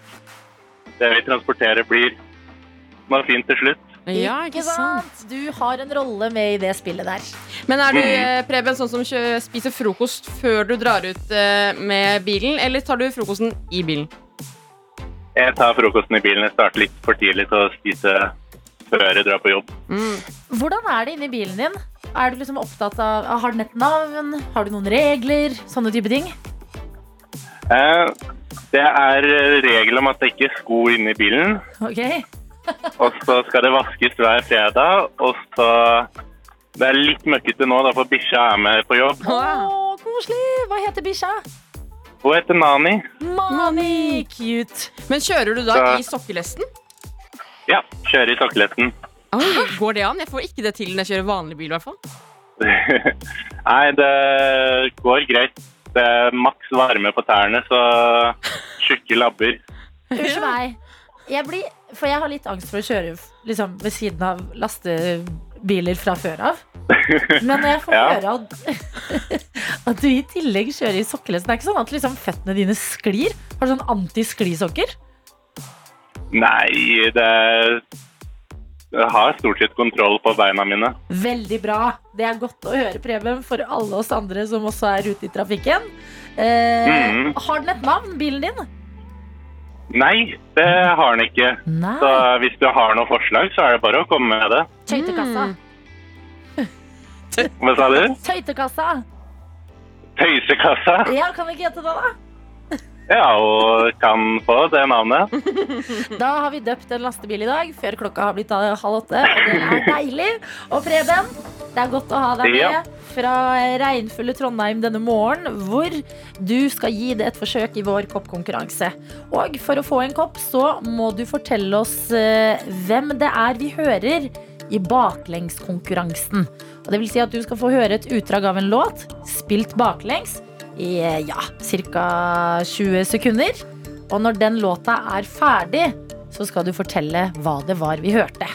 H: det vi transporterer, blir noe fint til slutt.
D: Du har en rolle med i det spillet der.
E: Men er du eh, Preben, sånn som kjø- spiser frokost før du drar ut eh, med bilen, eller tar du frokosten i bilen?
H: Jeg tar frokosten i bilen. Jeg starter litt for tidlig til å spise før jeg drar på jobb.
D: Hvordan er det inni bilen din? Er du liksom opptatt av, Har den et navn? Har du noen regler? Sånne type ting.
H: Eh, Det er regel om at det ikke er sko inne i bilen.
D: Ok?
H: Og så skal det vaskes hver fredag, og så Det er litt møkkete nå, da, for bikkja er med på jobb.
D: Å, koselig! Hva heter bikkja?
H: Hun heter Nani.
D: Mani! Cute.
E: Men kjører du da
H: Ja.
E: i sokkelesten?
H: Ja, kjører i sokkeletten. <laughs>
E: Oi, går det an? Jeg får ikke det til når jeg kjører vanlig bil, i hvert fall.
H: Nei, det går greit. Det er maks varme på tærne, så tjukke labber. <laughs>
D: Unnskyld meg. Jeg blir, for jeg har litt angst for å kjøre liksom, ved siden av lastebiler fra før av. Men når jeg får
H: Ja.
D: høre at, at <laughs> du i tillegg kjører i sokkelesten, det er ikke sånn at liksom, føttene dine sklir? Har du sånn antisklisokker?
H: Nei, det er jeg har stort sett kontroll på beina mine.
D: Veldig bra. Det er godt å høre, Preben, for alle oss andre som også er ute i trafikken. Eh,
H: Mhm.
D: Har den et navn, bilen din?
H: Nei, det har den ikke. Så
D: Nei.
H: hvis du har noen forslag, så er det bare å komme med det.
D: Tøytekassa.
H: Hva sa du?
D: Tøytekassa.
H: Tøysekassa?
D: Ja, kan vi ikke gjette det, da?
H: Ja, og kan få det navnet.
D: <laughs> Da har vi døpt en lastebil i dag før klokka har blitt eh, halv åtte. Og det er deilig. Og Preben, det er godt å ha deg
H: Ja.
D: med fra regnfulle Trondheim denne morgen, hvor du skal gi det et forsøk i vår koppkonkurranse. Og for å få en kopp, så må du fortelle oss eh, hvem det er vi hører i baklengskonkurransen. Og det vil si at du skal få høre et utdrag av en låt spilt baklengs i eh, ja, ca. 20 sekunder. Og når den låta er ferdig, så skal du fortelle hva det var vi hørte.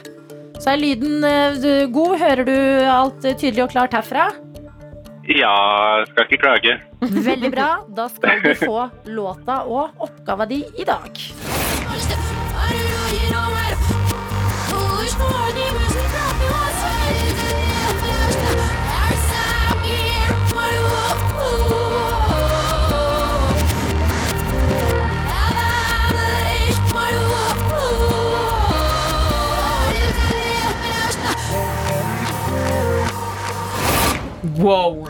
D: Så er lyden eh, god. Hører du alt eh, tydelig og klart herfra?
H: Ja, skal ikke klage.
D: Veldig bra. Da skal du få låta og oppgava di i dag.
E: Wow.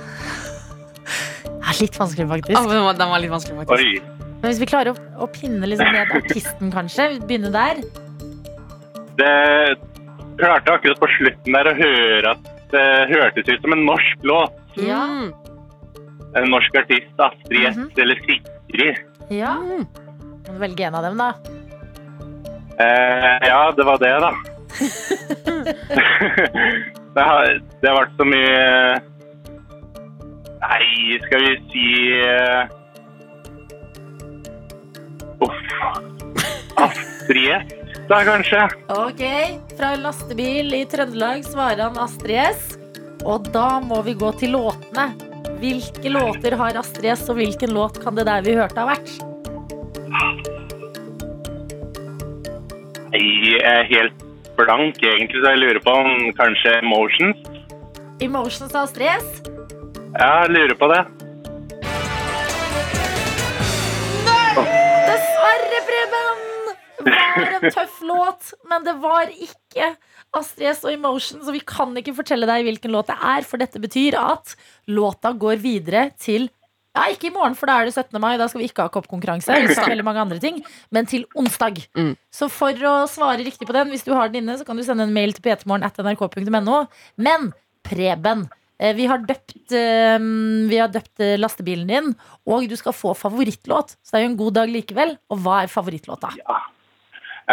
D: Det er litt vanskelig,
E: Ah,
D: faktisk.
E: den, var, den var litt vanskelig, faktisk.
H: Oi.
D: Men hvis vi klarer å, å pinne liksom ned artisten, kanskje. Begynne der.
H: Det klarte akkurat på slutten der å høre at det hørtes ut som en norsk låt.
D: Ja.
E: Mm.
H: En norsk artist, Astrid S eller Sigrid.
D: ja. Må Mm. du velge en av dem, da.
H: Eh, ja, det var det, da. det, har, det har vært så mye Nei, skal vi si eh, Uff. Astrid S, da kanskje?
D: Ok, fra lastebil i Trøndelag svarer han Astrid S. Og da må vi gå til låtene. Hvilke låter har Astrid S, og hvilken låt kan det der vi hørte ha vært?
H: Nei, Jeg er helt blank, egentlig, så jeg lurer på om kanskje Emotions?
D: Emotions av Astrid S.
H: Ja, jeg lurer på det.
D: Dessverre, Preben! Var en tøff låt, men det var ikke Astrid S og Emotions, og vi kan ikke fortelle deg hvilken låt det er, for dette betyr at låta går videre til ja, ikke i morgen, for da er det 17. mai. Da skal vi ikke ha koppkonkurranse. Vi skal ha veldig mange andre ting, Men til onsdag.
E: Mm.
D: Så for å svare riktig på den, hvis du har den inne, så kan du sende en mail til ptmorgen.nrk.no. Men Preben, eh, vi har døpt, eh, vi har døpt eh, lastebilen din, og du skal få favorittlåt. Så det er jo en god dag likevel. Og hva er favorittlåta?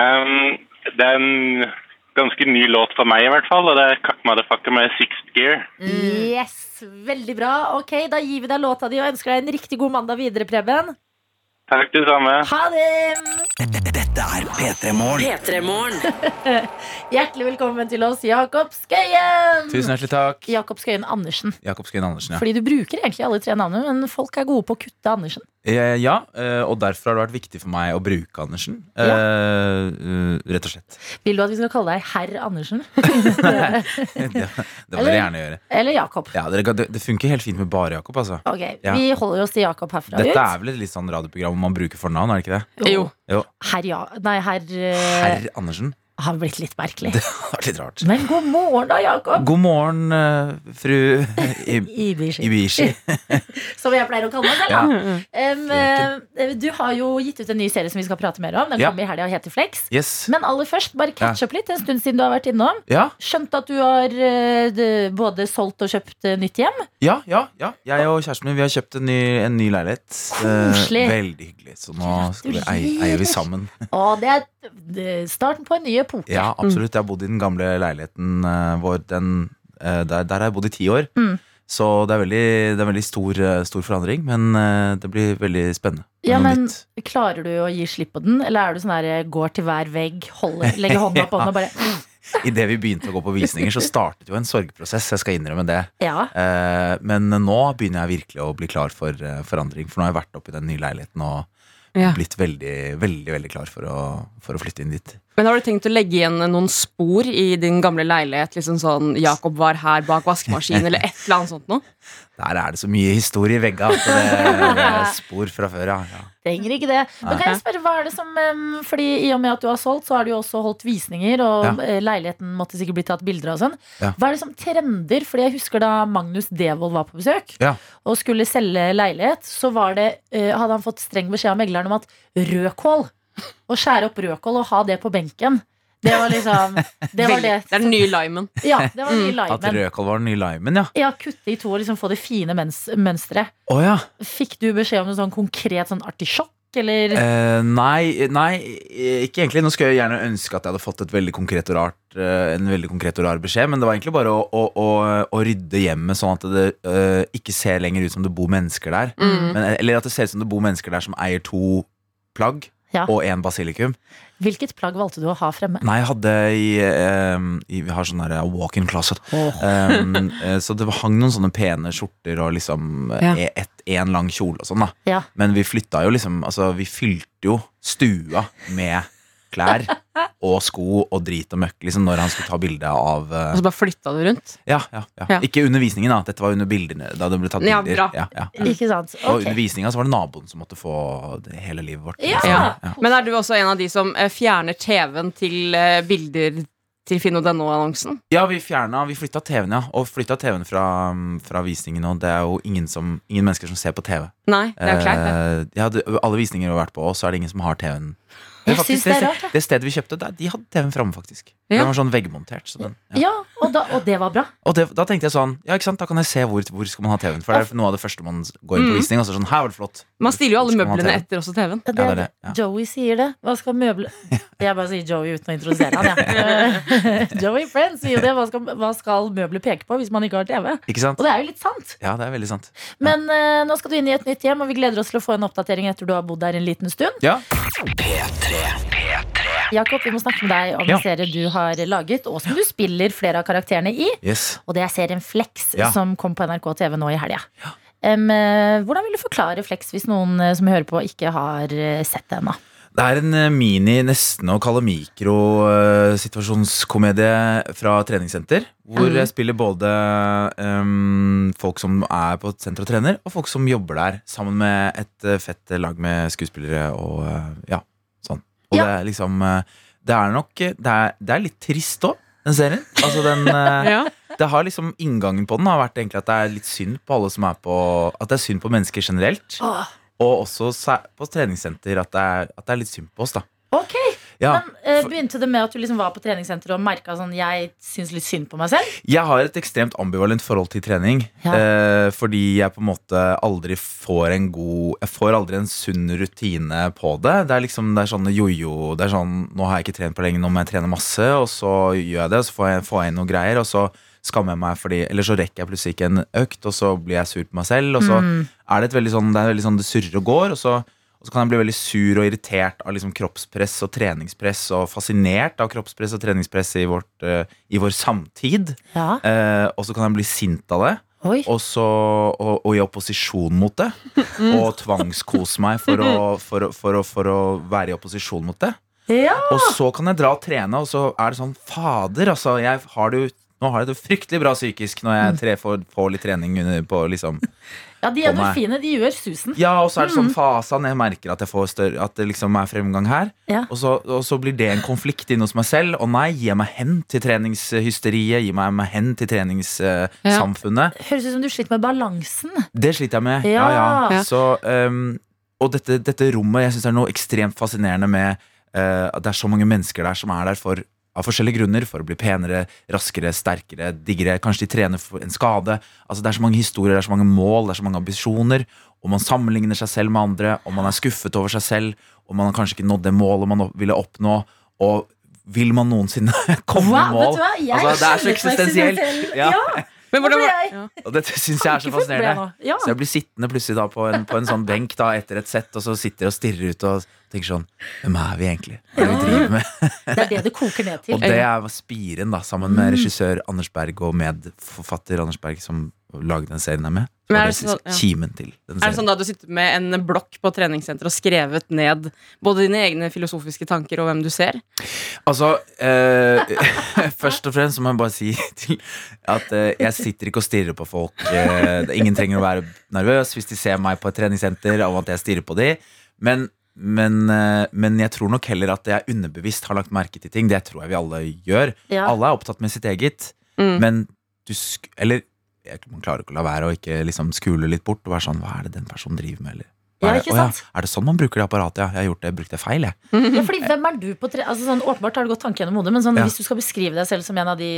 H: Ehm, det er en ganske ny låt for meg, i hvert fall, og det er Cuck Motherfucker med Sixth Gear.
I: Mm.
D: Yes, Veldig bra. Ok, Da gir vi deg låta di og ønsker deg en riktig god mandag videre, Preben.
H: Takk, det samme.
D: Ha det!
B: Dette er P3 Morgen.
C: P3-morgen.
D: Hjertelig velkommen til oss, Jakob Skøyen.
I: Tusen hjertelig takk.
D: Jakob Skøyen Andersen.
I: Jakob Skøyen Andersen, ja.
D: Fordi du bruker egentlig alle tre navnene, men folk er gode på å kutte Andersen.
I: Eh, ja. eh, Og derfor har det vært viktig for meg å bruke Andersen.
D: Ja.
I: Eh, eh, Rett og slett. <laughs>
D: Vil du at vi skal kalle deg herr Andersen?
I: Det, det må
D: Eller-
I: dere gjerne gjøre.
D: Eller Jakob?
I: Ja, dere, kan- det, det funker helt fint med bare Jakob, altså.
D: Ok,
I: Ja.
D: Vi holder oss til Jakob herfra
I: Dette er
D: ut.
I: vel et litt sånn radioprogram hvor man bruker fornavn, er det ikke det?
E: Jo.
I: Jo.
D: Herr ja... Nei, herr eh,
I: Herr Andersen.
D: har blitt litt merkelig.
I: Det var litt rart.
D: Men god morgen, da, Jakob.
I: God morgen, eh,
D: <laughs>
I: fru I-
D: Ibishi,
I: Ibishi.
D: som jeg pleier å kalle meg selv. da.
I: Ja.
D: <laughs> Em, eh, du har jo gitt ut en ny serie som vi skal prate mer om. Den
I: Ja.
D: kommer i helga og heter Flex.
I: Yes.
D: Men aller først, bare catch up litt. En stund siden du har vært innom.
I: Ja,
D: Skjønt at du har eh, d- både solgt og kjøpt eh, nytt
I: <laughs>
D: hjem.
I: ja, ja, ja. Jeg og kjæresten min vi har kjøpt en ny, en ny leilighet. Eh,
D: Koselig.
I: veldig hyggelig. Så nå skal vi, ei- eier vi sammen.
D: Og det er eh, starten på en ny epoke.
I: Ja, absolutt. Jeg har bodd i den gamle leiligheten eh, vår. Den, eh, der, der har jeg bodd i ti år.
D: Mm.
I: Så det er veldig, det er veldig stor, eh, stor forandring, men eh, det blir veldig spennende. Det er
D: Ja,
I: noe
D: men
I: nytt.
D: Klarer du å gi slipp på den, eller er du sånn der går til hver vegg, holder, legger hånda på den og
I: <laughs>
D: bare "Mm,
I: Idet vi begynte å gå på visninger, så startet jo en sorgprosess. Jeg skal innrømme det.
D: Ja.
I: Eh, Men nå begynner jeg virkelig å bli klar for eh, forandring, for nå har jeg vært oppe i den nye leiligheten og
E: Ja.
I: blitt veldig, veldig veldig klar for å, for å flytte inn dit.
E: Men har du tenkt å legge igjen noen spor i din gamle leilighet? Liksom sånn 'Jakob var her bak vaskemaskinen', eller et eller annet sånt noe?
I: Der er det så mye historie i vegga at det, det er spor fra før, ja. ja.
D: Trenger ikke det. Men kan jeg spørre, hva er det som em, Fordi i og med at du har solgt, så har du jo også holdt visninger, og
I: Ja.
D: eh, leiligheten måtte sikkert bli tatt bilder av og sånn.
I: Ja.
D: Hva er det som trender? Fordi jeg husker da Magnus Devold var på besøk
I: Ja.
D: og skulle selge leilighet, så var det, eh, hadde han fått streng beskjed av megleren om at rødkål Å skjære opp rødkål og ha det på benken. Det var liksom Det var
E: Veldig.
D: det.
E: det er den nye limen.
D: Ja, det var mye
I: Mm. At
D: limen.
I: rødkål var den nye limen, ja.
D: Ja, kutte i to og liksom få det fine mens- mønsteret.
I: Å ja.
D: Fikk du beskjed om en sånn konkret sånn artisjokk, eller?
I: Eh, nei, nei, ikke egentlig. Nå skulle jeg gjerne ønske at jeg hadde fått et veldig konkret og rart, eh, en veldig konkret og rar beskjed, men det var egentlig bare å, å, å, å rydde hjemmet sånn at det eh, ikke ser lenger ut som det bor mennesker der.
E: Mm.
I: Men, eller at det ser ut som det bor mennesker der som eier to plagg
D: Ja.
I: og én basilikum.
D: Hvilket plagg valgte du å ha fremme?
I: Nei, jeg hadde i, eh, i Vi har sånn der walk-in closet. Um, eh, så det hang noen sånne pene skjorter og liksom eh,
E: Ja.
I: et, en lang kjole og sånn, da.
D: Ja.
I: Men vi flytta jo liksom Altså, vi fylte jo stua med klær og sko og drit og møkk liksom når han skulle ta bilde av eh,
E: Og så bare flytta du rundt.
I: ja, ja, ja,
E: Altså, Ja.
I: Ikke under visningen, da. Dette var under bildene da det ble tatt
E: Ja,
I: bilder.
E: bra.
I: ja.
D: Ikke sant?
I: Og
D: Ok.
I: under visninga så var det naboen som måtte få det hele livet vårt.
D: Ja.
I: ja.
E: Men er du også en av de som eh, fjerner TV-en til eh, bilder til finn.no-annonsen?
I: Ja, vi fjerna, vi flytta TV-en, ja. Og flytta TV-en fra, mm, fra visningen, og det er jo ingen, som, ingen mennesker som ser på TV.
E: Nei, det er jo kleint, det.
I: Eh, ja, det- alle visninger vi har vært på, og så er det ingen som har TV-en. Men
D: Jeg synes det er rart, jeg.
I: det stedet vi kjøpte, der, de hadde TV-en framme, faktisk.
E: Ja.
I: Den var sånn veggmontert. Så den, ja.
D: Ja, og, da, og det var bra.
I: Og det, da tenkte jeg sånn, ja, ikke sant, da kan jeg se hvor, hvor skal man ha TV-en. For det er noe av det første man går inn på visning, og så er det sånn, her var det flott.
E: Man stiller jo alle
I: Skal man ha
E: møblene
I: TV?
E: etter også TV-en.
D: Det,
I: det er det, ja.
D: Joey sier det. Hva skal
I: <laughs>
D: møble... Jeg bare sier Joey uten å introdusere han, jeg.
I: <laughs>
D: Joey Friend sier jo det. Hva skal, hva skal møbler peke på hvis man ikke har TV?
I: Ikke sant?
D: Og det er jo litt sant.
I: Ja, det er veldig sant.
D: Men eh, nå skal du inn i et nytt hjem, og vi gleder oss til å få en oppdatering etter du har bodd der en liten stund.
I: Ja,
D: Jakob, vi må snakke med deg om
I: Ja.
D: en serie du har laget, og som du spiller flere av karakterene i.
I: yes.
D: Og det er serien Flex,
I: Ja.
D: som kom på NRK TV nå i helga. Em, eh, hvordan vil du forklare Flex hvis noen eh, som hører på, ikke har eh, sett det ennå?
I: Det er en eh, mini, nesten å kalle mikrosituasjonskomedie fra treningssenter. Hvor jeg spiller både ehm, folk som er på et senter og trener, og folk som jobber der. Sammen med et eh, fett lag med skuespillere og eh, ja, sånn. Og
D: Ja.
I: det er liksom eh, Det er nok eh, Det er, det er litt trist òg, den serien. Altså den eh,
E: <laughs> Ja.
I: Det har liksom Inngangen på den har vært egentlig at det er litt synd på alle som er på At det er synd på mennesker generelt. Og også sæ- på treningssenter at det er, at det er litt synd på oss, da.
D: Ok,
I: Ja,
D: men eh,
I: for-
D: Begynte det med at du liksom var på treningssenteret og merka sånn Jeg syns litt synd på meg selv?
I: Jeg har et ekstremt ambivalent forhold til trening.
D: Ja.
I: Eh, fordi jeg på en måte aldri får en god Jeg får aldri en sunn rutine på det. Det er liksom, det er sånn jojo Det er sånn Nå har jeg ikke trent på lenge, nå må jeg trene masse. Og så gjør jeg det, og så får jeg, får jeg inn noen greier, og så skammer jeg meg fordi Eller så rekker jeg plutselig ikke en økt, og så blir jeg sur på meg selv. Og så er det et veldig sånn Det er veldig sånn det surrer og går, og så og så kan jeg bli veldig sur og irritert av liksom kroppspress og treningspress, og fascinert av kroppspress og treningspress i, vårt, eh, i vår samtid.
D: Ja.
I: Eh, og så kan jeg bli sint av det,
D: Oi.
I: og, så, og, og i opposisjon mot det.
D: Mm.
I: Og tvangskose meg for å, for, å- for, å, for å være i opposisjon mot det.
D: Ja.
I: Og så kan jeg dra og trene, og så er det sånn Fader, altså. Jeg har det, jo- nå har jeg det fryktelig bra psykisk når
D: Mm.
I: jeg tre, får, får litt trening under på liksom
D: ja, de
I: På meg.
D: endorfinene, de gjør susen.
I: Ja, og så er det
D: Mm.
I: sånn fasen. Jeg merker at, jeg får større, at det liksom er fremgang her.
D: Ja.
I: Og, så, og så blir det en konflikt inne hos meg selv. Og nei, gi meg hen til treningshysteriet. Gi meg meg hen til treningssamfunnet.
D: Høres ut som du sliter med balansen.
I: Det sliter jeg med. Ja,
D: Ja.
I: ja.
E: Ja.
I: Så, ehm, og dette, dette rommet jeg synes er noe ekstremt fascinerende med eh, at det er så mange mennesker der som er der for av forskjellige grunner, for å bli penere, raskere, sterkere, diggere. Kanskje de trener for en skade. Altså Det er så mange historier, det er så mange mål, det er så mange ambisjoner. Og man sammenligner seg selv med andre, og man er skuffet over seg selv, og man har kanskje ikke nådd det målet man opp- ville oppnå. Og vil man noensinne <laughs> komme i
D: Wow, vet
I: mål?
D: du hva? Jeg
I: altså, det er så
D: kjenner på
I: eksistensielt.
D: eksistensiell.
I: Ja.
E: Men
D: Nå
E: hvordan
D: ble
E: var
D: jeg
E: ja.
I: Og dette syns jeg er så
D: tankefull ble jeg
I: fascinerende.
D: nå. Ja.
I: Så jeg blir sittende plutselig da på en, på en sånn benk da etter et sett, og så sitter jeg og stirrer ut og tenker sånn Hvem er vi egentlig? Hva er det vi driver med?
D: Det er det det koker ned til.
E: Mm.
I: Og det er Spiren, da, sammen med regissør Anders Berg og medforfatter Anders Berg, som lage den serien her med. Så
E: Men er
I: var det
E: det sånn- ja.
I: kimen til den
E: Er det
I: serien.
E: sånn da du sitter med en blokk på treningssenteret og skrevet ned både dine egne filosofiske tanker og hvem du ser?
I: Altså, eh, <laughs> først og fremst så må jeg bare si <laughs> til at eh, jeg sitter ikke og stirrer på folk. Eh, det- ingen trenger å være nervøs hvis de ser meg på et treningssenter av at jeg stirrer på de. Men, men, eh, men jeg tror nok heller at jeg underbevisst har lagt merke til ting. Det tror jeg vi alle gjør.
D: Ja.
I: Alle er opptatt med sitt eget.
E: Mm.
I: Men du sk... Eller jeg, man klarer ikke å la være å ikke liksom skule litt bort og være sånn Hva er det den personen driver med, eller? Hva
D: Ja,
I: er, det,
D: ikke
I: Å ja,
D: sant?
I: er det sånn man bruker det apparatet? Ja, jeg har gjort det, brukte det feil, jeg.
D: Ja, fordi hvem er du på tre... Altså, sånn, åpenbart har det gått tanke gjennom hodet, men sånn,
I: Ja.
D: hvis du skal beskrive deg selv som en av de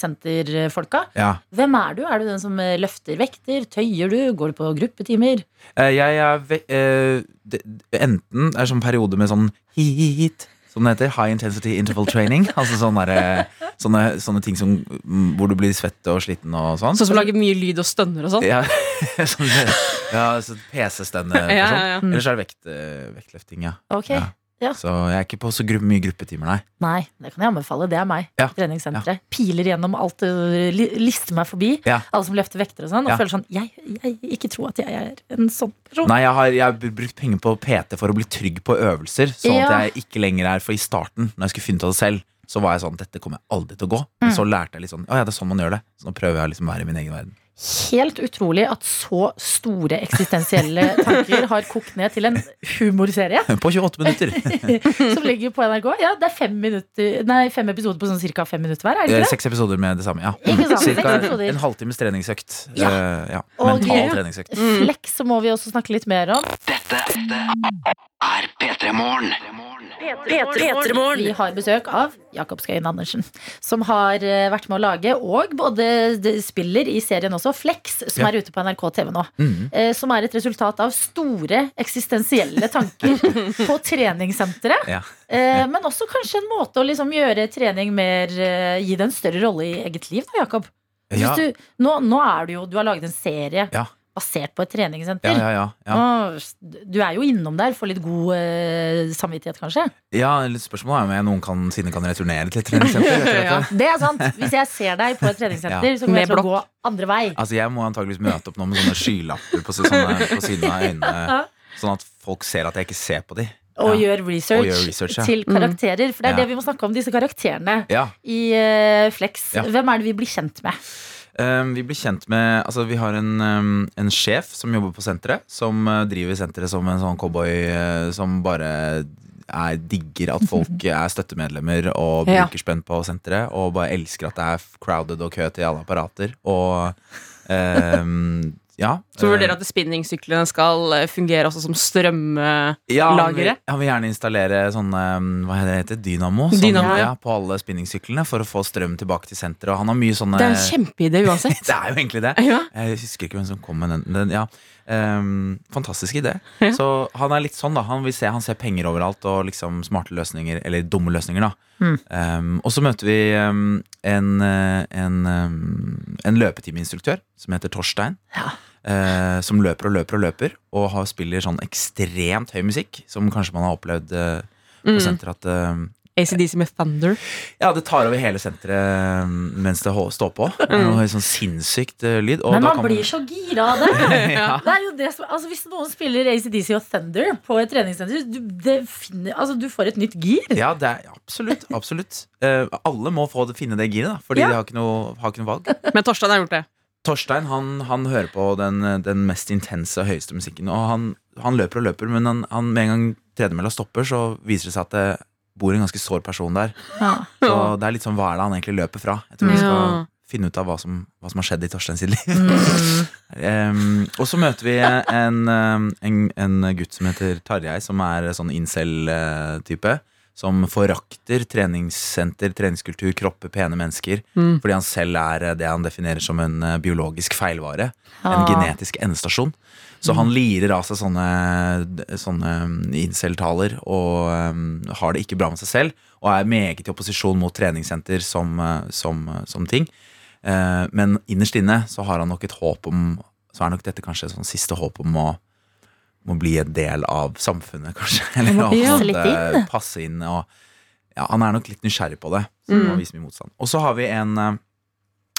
D: treningssenterfolka,
I: Ja.
D: hvem er du? Er du den som eh, løfter vekter? Tøyer du? Går du på gruppetimer?
I: Eh, Jeg er ve eh, det- Enten er det sånn periode med sånn hit, som det heter, high intensity interval training. <laughs> altså sånne, der, eh, sånne, sånne ting som, mm, hvor du blir svett og sliten og sånn.
E: Sånn som lager mye lyd og stønner og sånn?
I: <laughs> ja, sånn ja, så PC-stemme.
E: <laughs> Ja, Mm. ja, ja.
I: Ellers er det vekt, eh, vektløfting, ja.
D: Ok.
I: Ja. Så jeg er ikke på så gru mye gruppetimer, nei.
D: Nei, det kan jeg anbefale. Det er meg.
I: Ja.
D: Treningssenteret. Piler gjennom alt, øh, li- lister meg forbi.
I: Ja.
D: Alle som løfter vekter og sånn. Og
I: Ja.
D: føler sånn jeg, jeg ikke tror at jeg er en sånn person.
I: Nei, jeg har, jeg har brukt penger på PT for å bli trygg på øvelser, sånn
D: Ja.
I: at jeg ikke lenger er For i starten, når jeg skulle finne ut av det selv, så var jeg sånn Dette kommer jeg aldri til å gå.
D: Mm.
I: Men så lærte jeg litt sånn Å ja, det er sånn man gjør det. Så nå prøver jeg å liksom å være i min egen verden. <laughs>
D: Helt utrolig at så store eksistensielle tanker har kokt ned til en humorserie
I: På 28 minutter.
D: <laughs> som ligger på NRK. Ja, det er fem, minutter, nei, fem episoder på sånn cirka fem minutter hver, er det
I: Eh,
D: ikke det?
I: Seks episoder med det samme, ja. Mm.
D: Ikke sant?
I: Cirka
D: Seks episoder.
I: en halvtimes treningsøkt.
D: Ja.
I: Eh, ja.
D: Og-
I: Mental
D: Ja.
I: treningsøkt.
D: Flex så må vi også snakke litt mer om.
B: er P3 Morgen.
D: Vi har besøk av Jakob Skøyen Andersen, som har eh, vært med å lage og både d- spiller i serien også Flex, som
I: Ja.
D: er ute på NRK TV nå.
I: Mhm.
D: eh, Som er et resultat av store eksistensielle tanker
I: <laughs>
D: på treningssenteret.
I: Ja.
D: eh, Men også kanskje en måte å liksom gjøre trening mer eh, Gi det en større rolle i eget liv, da, Jakob. Hvis
I: Ja.
D: Du, nå, nå er du jo Du har laget en serie
I: Ja.
D: basert på et treningssenter.
I: Ja, ja, ja, ja.
D: Nå, Du er jo innom der for litt god eh, samvittighet, kanskje?
I: ja litt spørsmålet er om jeg noen kan, siden kan returnere til
D: <laughs>
I: et treningssenter. etter dette.
E: Ja.
D: Det er sant. Hvis jeg ser deg på et treningssenter, så kommer
E: Med
D: jeg til å
E: blokk.
D: gå andre vei.
I: Altså Jeg må antageligvis møte opp nå med sånne skylapper på, si- sånne, på siden av
E: <laughs>
I: øynene. Sånn at folk ser at jeg ikke ser på de.
D: Og
I: Ja.
D: gjør research,
I: Og gjør research, ja.
D: til
E: Mm.
D: karakterer. For det er
I: Ja.
D: det vi må snakke om, disse karakterene
I: Ja,
D: i eh, Flex.
I: Ja.
D: Hvem er det vi blir kjent med?
I: um, Vi blir kjent med Altså Vi har en, um, en sjef som jobber på senteret. Som uh, driver senteret som en sånn cowboy uh, som bare er, digger
E: <laughs>
I: at folk er støttemedlemmer og
E: Ja.
I: bruker spenn på senteret. Og bare elsker at det er crowded og kø til alle apparater. Og um, ja.
E: Så vurderer at spinningsyklene skal eh, fungere også som strøm... eh,
I: Ja, han vil,
E: lagre.
I: han vil gjerne installere sånne um, hva heter det, dynamo, sånn,
E: Dynamo,
I: ja.
E: ja.
I: på alle spinningsyklene for å få strøm tilbake til senteret. Og han har mye sånne
E: Det er en kjempeidé uansett.
I: Det er jo egentlig det.
E: <laughs> Ja.
I: Jeg husker ikke hvem som kom med den. den ja. um, fantastisk
D: <laughs>
I: idé.
E: Ja.
I: Så han er litt sånn, da. Han, vil se, han ser penger overalt og liksom smarte løsninger, eller dumme løsninger, da.
D: Mm.
I: Um, og så møter vi um, en, eh, en, um, en løpetimeinstruktør som heter Torstein.
D: Ja.
I: eh, som løper og løper og løper, og har, spiller sånn ekstremt høy musikk, som kanskje man har opplevd eh,
D: Mm.
I: på senteret at eh,
E: ACDC med Thunder.
I: ja, det tar over hele senteret eh, mens det hå- står på. Det er noe sånn sinnssykt eh, lyd. og
D: Mm. Men
I: da
D: man
I: kan
D: <laughs> blir så gira av det!
I: <laughs> ja.
D: Det er jo det som, altså hvis noen spiller ACDC og Thunder på et treningssenter, du, det finner, altså du får et nytt gir. <laughs>
I: ja, det er absolutt. absolutt Eh, Alle må få det, finne det giret, da, fordi
D: Ja.
I: de har ikke, noe, har ikke noe valg.
E: Men Torstein har gjort det.
I: Torstein han, han hører på den, den mest intense og høyeste musikken. Og han, han løper og løper, men han, han, med en gang tredemølla stopper, så viser det seg at det bor en ganske sår person der.
D: Ja.
I: Så det er litt sånn hva er det han egentlig løper fra? Jeg tror vi skal
E: Ja.
I: finne ut av hva som, hva som har skjedd i Torstein sitt liv.
D: Mm.
I: <laughs> Em, og så møter vi en, em, en, en gutt som heter Tarjei, som er sånn eh, incel-type. Som forakter treningssenter, treningskultur, kropper, pene mennesker.
E: Mm.
I: Fordi han selv er eh, det han definerer som en eh, biologisk feilvare. En
D: Ah.
I: genetisk endestasjon. Så han lirer av seg sånne, sånne mm, incel-taler og em, har det ikke bra med seg selv. Og er meget i opposisjon mot treningssenter som, eh, som, eh, som ting. Eh, Men innerst inne så har han nok et håp om Så er nok dette kanskje et sånn siste håp om å, om å bli en del av samfunnet, kanskje. <laughs> Eller å
D: passe
I: på en
D: litt
I: måte
D: inn.
I: Passe inn
D: Mm.
I: og, ja, han er nok litt nysgjerrig på det. Så han må vise mye motstand. Og så har vi en eh,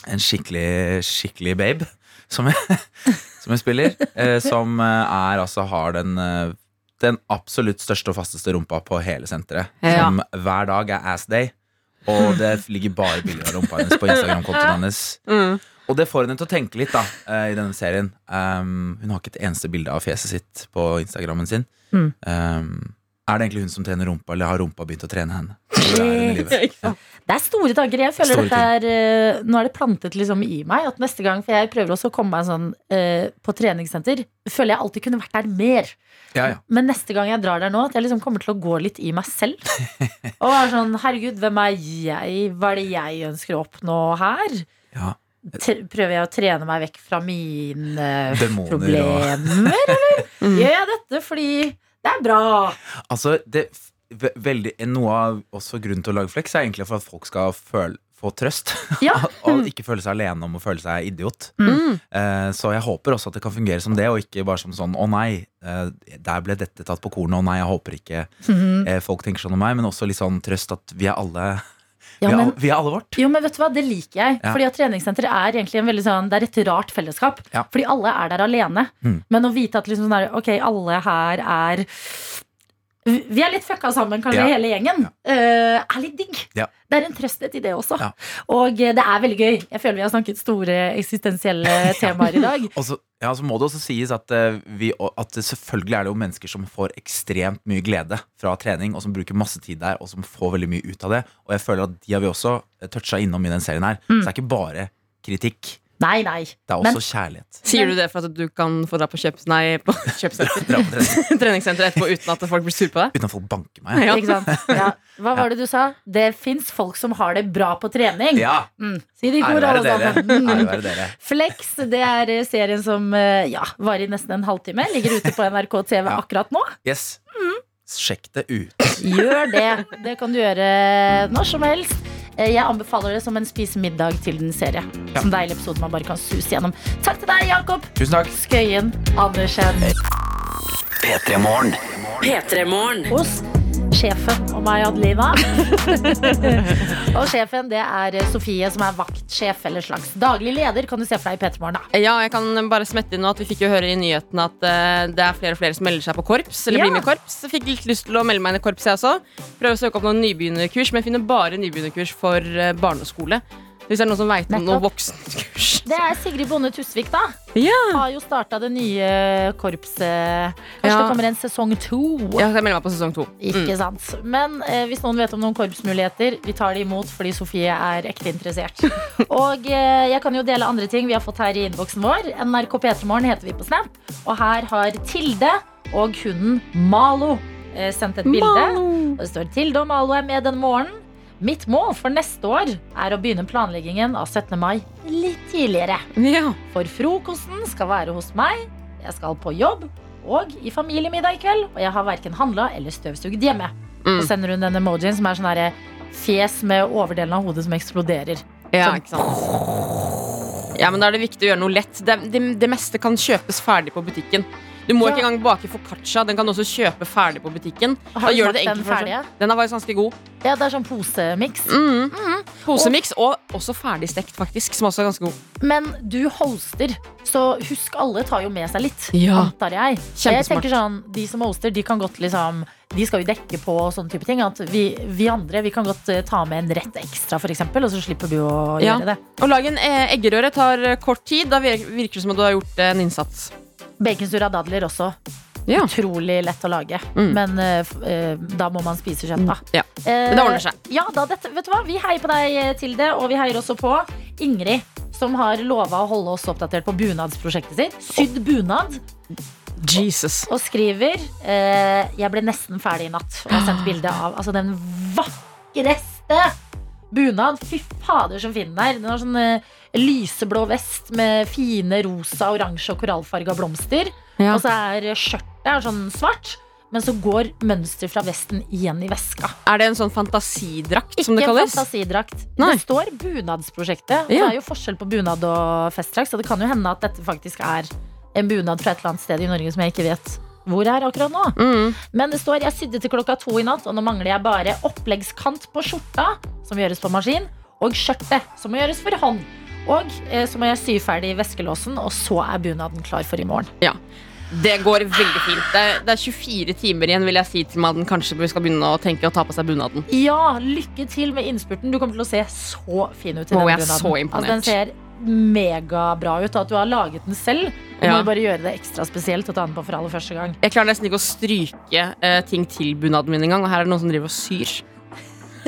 I: en skikkelig, skikkelig babe som jeg, <laughs> som jeg spiller. eh, Som eh, er altså har den eh, den absolutt største og fasteste rumpa på hele senteret.
E: Ja.
I: Som hver dag er ass day. Og det ligger bare bilder av rumpa hennes på
D: <laughs>
I: Instagram-kontoen hennes.
E: Mm.
I: Og det får henne til å tenke litt da eh, i denne serien. Um, hun har ikke et eneste bilde av fjeset sitt på Instagrammen sin.
D: Mm.
I: Um, er det egentlig hun som trener rumpa, eller har rumpa begynt å trene
D: <laughs>
I: henne? Hvor er hun i livet?
D: Det er store dager. Jeg føler
I: Store
D: dette er eh, Nå er det plantet liksom i meg at neste gang For jeg prøver også å komme meg sånn eh, på treningssenter. Føler jeg alltid kunne vært der mer.
I: Ja, ja.
D: Men neste gang jeg drar der nå, at jeg liksom kommer til å gå litt i meg
I: <laughs>
D: selv. Og er sånn Herregud, hvem er jeg? Hva er det jeg ønsker å oppnå her?
I: Ja.
D: T prøver jeg å trene meg vekk fra mine
I: Demoner og-
D: problemer, eller?
I: <laughs>
D: Gjør jeg dette fordi det er bra?
I: Altså, det, ve- veldig, noe av også grunnen til å lage flex er egentlig for at folk skal føle, få
D: <laughs>
I: trøst. <laughs>
D: Ja.
I: og ikke føle seg alene om å føle seg idiot.
E: Mm.
I: Eh, så jeg håper også at det kan fungere som det, og ikke bare som sånn 'å nei, eh, der ble dette tatt på kornet', 'å nei, jeg håper ikke
D: Mhm.
I: eh, folk tenker sånn om meg', men også litt sånn trøst at vi er alle,
D: Ja,
I: vi er,
D: men
I: al- vi er alle vårt.
D: Jo, men vet du hva, det liker jeg.
I: Ja.
D: Fordi at treningssenter er egentlig en veldig sånn Det er et rart fellesskap.
I: Ja.
D: Fordi alle er der alene.
I: Mm.
D: Men å vite at liksom sånn der, ok, alle her er Vi er litt fucka sammen, kanskje,
I: Ja.
D: hele gjengen. eh, er litt digg.
I: Ja.
D: Det er en trøsthet i det også.
I: Ja.
D: Og eh, det er veldig gøy. Jeg føler vi har snakket store
I: <laughs>
D: eksistensielle temaer i dag.
I: Og så, ja, så må det også sies at, eh, vi, og at det selvfølgelig er det jo mennesker som får ekstremt mye glede fra trening, og som bruker masse tid der, og som får veldig mye ut av det. Og jeg føler at de har vi også eh, toucha innom i den serien her. Så det er ikke bare kritikk.
D: Nei, nei.
I: Det er
D: Mm. Men-
I: også kjærlighet.
E: Sier du det for at du kan få deg på kjøps... Nei, på <laughs> kjøpesenter.
I: Dra på trening
E: treningssenter etterpå uten at folk blir sur på deg?
I: uten at folk banker meg.
E: Ja.
D: Ikke sant? Ja. Hva var det du sa? Det fins folk som har det bra på trening.
I: Ja,
D: Mm. Si det i
I: ære
D: kor,
I: være
D: alle
I: dere.
D: sammen. Mm.
I: Ære være dere.
D: Flex det er eh, serien som eh, ja, varer i nesten en halvtime. Ligger ute på NRK TV
I: Ja.
D: akkurat nå.
I: Yes.
D: Mm.
I: Sjekk det ut.
D: Gjør det. Det kan du gjøre når som helst. Eh, Jeg anbefaler det som en spis middag til den serie.
I: Ja.
D: Som deilig episode man bare kan suse gjennom. Takk til deg, Jakob
I: Tusen takk.
D: Skøyen Andersen
B: P3 Morgen.
C: P3-morgen.
D: hos sjefen og meg, <laughs> Adelina. og sjefen, det er Sofie, som er vaktsjef eller slags daglig leder, kan du se for deg i P3 Morgen, da.
E: Ja, jeg kan bare smette inn nå at Vi fikk jo høre i nyhetene at eh, det er flere og flere som melder seg på korps. Eller
D: Ja.
E: blir med i korps Jeg Fikk litt lyst til å melde meg inn i korps, jeg også. Prøver å søke opp noen nybegynnerkurs, men jeg finner bare nybegynnerkurs for eh, barneskole. Hvis det er noen som veit om noe
D: Nettopp.
E: voksenkurs.
D: Det er Sigrid Bonde Tusvik, da.
E: Ja.
D: <laughs> har jo starta det nye korpset. Kanskje
E: Ja.
D: det kommer en sesong to.
E: Jeg skal melde meg på sesong to.
D: Ikke sant. Men eh, hvis noen vet om noen korpsmuligheter, vi tar det imot fordi Sofie er ekte interessert. og eh, jeg kan jo dele andre ting vi har fått her i innboksen vår. NRK P3morgen heter vi på Snap. Og her har Tilde og hunden Malo eh, sendt et bilde. Og det står Tilde og Malo er med denne morgenen. Mitt mål for neste år er å begynne planleggingen av 17. mai litt tidligere.
E: Ja.
D: For frokosten skal være hos meg, jeg skal på jobb og i familiemiddag i kveld, og jeg har verken handla eller støvsugd hjemme.
E: Mm.
D: Og sender hun den emojien som er sånn herre fjes med overdelen av hodet som eksploderer.
E: Ja,
D: Sånn.
E: ikke sant? ja, men da er det viktig å gjøre noe lett. Det, det, det meste kan kjøpes ferdig på butikken. Du må
D: Ja.
E: ikke engang bake foccaccia. Den kan du også kjøpe ferdig på butikken.
D: Har
E: Da
D: du
E: gjør det
D: smakt
E: det
D: den
E: enkelt for
D: ferdige?
E: seg. Den er faktisk ganske god.
D: Ja, det er sånn posemiks.
E: Mm. Posemiks og også ferdigstekt, faktisk, som også er ganske god.
D: Men du hoster, så husk alle tar jo med seg litt.
E: Ja.
D: Antar jeg. Og jeg
E: Kjempesmart.
D: tenker sånn, De som hoster, de kan godt liksom De skal jo dekke på og sånne type ting. At vi, vi andre vi kan godt eh, ta med en rett ekstra, f.eks., og så slipper du å
E: Ja.
D: gjøre det.
E: Å lage en eh, eggerøre tar eh, kort tid. Da vir- virker det som at du har gjort eh, en innsats.
D: Baconsura dadler også.
E: Ja.
D: Utrolig lett å lage.
E: Mm.
D: Men eh, f- eh, da må man spise kjøtt, da.
E: Ja.
D: Eh,
E: Men det ordner seg.
D: Ja, da, dette, vet du hva? Vi heier på deg, eh, Tilde, og vi heier også på Ingrid. Som har lova å holde oss oppdatert på bunadsprosjektet sitt. Sydd bunad.
E: Jesus.
D: Og skriver eh, 'Jeg ble nesten ferdig i natt'. Og har sendt bilde av altså, den vakreste bunad. Fy fader, som fin den er. Den har sånn eh, lyseblå vest med fine rosa, oransje og korallfarga blomster.
E: Ja.
D: Og så er skjørtet er sånn svart, men så går mønsteret fra vesten igjen i veska.
E: Er det en sånn fantasidrakt,
D: Ikke
E: som det
D: en
E: kalles?
D: fantasidrakt.
E: Nei.
D: Det står bunadsprosjektet. Og
E: Ja.
D: Det er jo forskjell på bunad og festdrakt, så det kan jo hende at dette faktisk er en bunad fra et eller annet sted i Norge som jeg ikke vet hvor er akkurat nå.
E: Mm.
D: Men det står 'jeg sydde til klokka to i natt', og nå mangler jeg bare oppleggskant på skjorta, som gjøres på maskin, og skjørtet, som må gjøres for hånd. Og eh, så må jeg sy ferdig veskelåsen, og så er bunaden klar for i morgen.
E: Det går veldig fint. Det er, det er 24 timer igjen, vil jeg si til mannen. Kanskje vi skal begynne å tenke å ta på seg bunaden.
D: Ja, lykke til med innspurten. Du kommer til å se så fin ut i
E: Wow,
D: den
E: jeg er
D: bunaden.
E: så imponert.
D: Altså, den ser megabra ut. og At du har laget den selv. Du
E: Ja.
D: må bare gjøre det ekstra spesielt å ta den på for aller første gang.
E: Jeg klarer nesten ikke å stryke eh, ting til bunaden min engang, og her er det noen som driver og syr.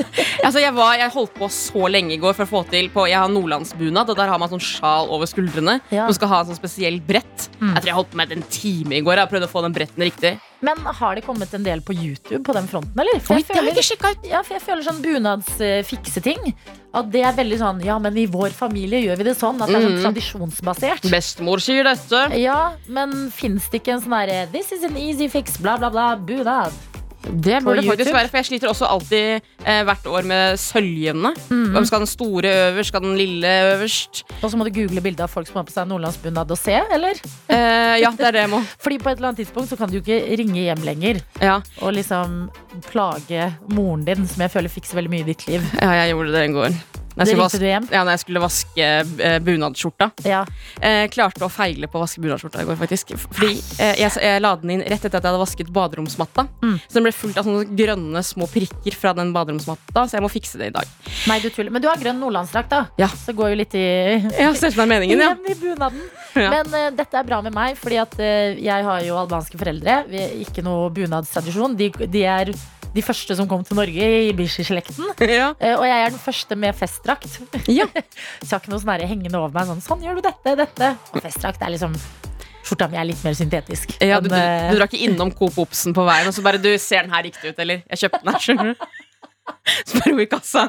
E: <laughs> altså, jeg, var, jeg holdt på så lenge i går for å få til på Jeg har nordlandsbunad, og der har man sånn sjal over skuldrene.
D: Ja.
E: Som skal ha en sånn spesiell brett.
D: Mm.
E: Jeg tror jeg holdt på med en time i går. Jeg prøvde å få den bretten riktig.
D: Men har det kommet en del på YouTube på den fronten, eller? For jeg føler- Ja, for jeg føler sånn bunadsfikseting. At det er veldig sånn Ja, men i vår familie gjør vi det sånn. At det er sånn
E: Mhm.
D: tradisjonsbasert.
E: Bestemor syr dette.
D: Ja, men fins det ikke en sånn herre This is an easy fix, bla, bla, bla, bunad?
E: Det
D: På
E: burde det faktisk
D: YouTube.
E: være, for jeg sliter også alltid eh, hvert år med sølvjevne.
D: Mhm.
E: Hvem Skal den store øverst? Skal den lille øverst?
D: Og så må du google bilde av folk som har på seg nordlandsbunad og se, eller?
E: Eh, ja, det er det
D: <laughs>
E: jeg må.
D: Fordi på et eller annet tidspunkt så kan du jo ikke ringe hjem lenger
E: Ja,
D: og liksom plage moren din, som jeg føler fikser veldig mye i ditt
E: <laughs>
D: liv.
E: ja jeg gjorde det i går. Når jeg
D: Det
E: skulle
D: ringte du hjem?
E: Ja, når jeg skulle vaske eh, bunadsskjorta.
D: Ja.
E: Eh, klarte å feile på å vaske bunadsskjorta i går, faktisk. Fordi eh, jeg, jeg la den inn rett etter at jeg hadde vasket baderomsmatta.
D: Mm.
E: Så den ble fullt av sånne grønne små prikker fra den baderomsmatta, så jeg må fikse det i dag.
D: Nei, du tuller. Men du har grønn nordlandsdrakt, da.
E: Ja.
D: Så går jo litt i
E: Ja, ser ut som det er meningen,
D: <laughs>
E: ja.
D: Igjen i bunaden.
E: Ja.
D: Men eh, dette er bra med meg, fordi at eh, jeg har jo albanske foreldre. Vi er ikke noe bunadstradisjon. De, de er de første som kom til Norge i Bishi-slekten.
E: <laughs> ja.
D: Eh, og jeg er den første med festdrakt.
E: Ja.
D: <laughs> Så jeg har ikke noe sånn her hengende over meg sånn sånn gjør du dette, dette. Og festdrakt er liksom Skjorta mi er litt mer syntetisk.
E: Ja, du, du,
D: Men, eh,
E: du drar ikke innom Coop Obsen på veien og så bare du ser den her riktig ut, eller? Jeg kjøpte den her, skjønner du. <laughs> Spør hun i kassa.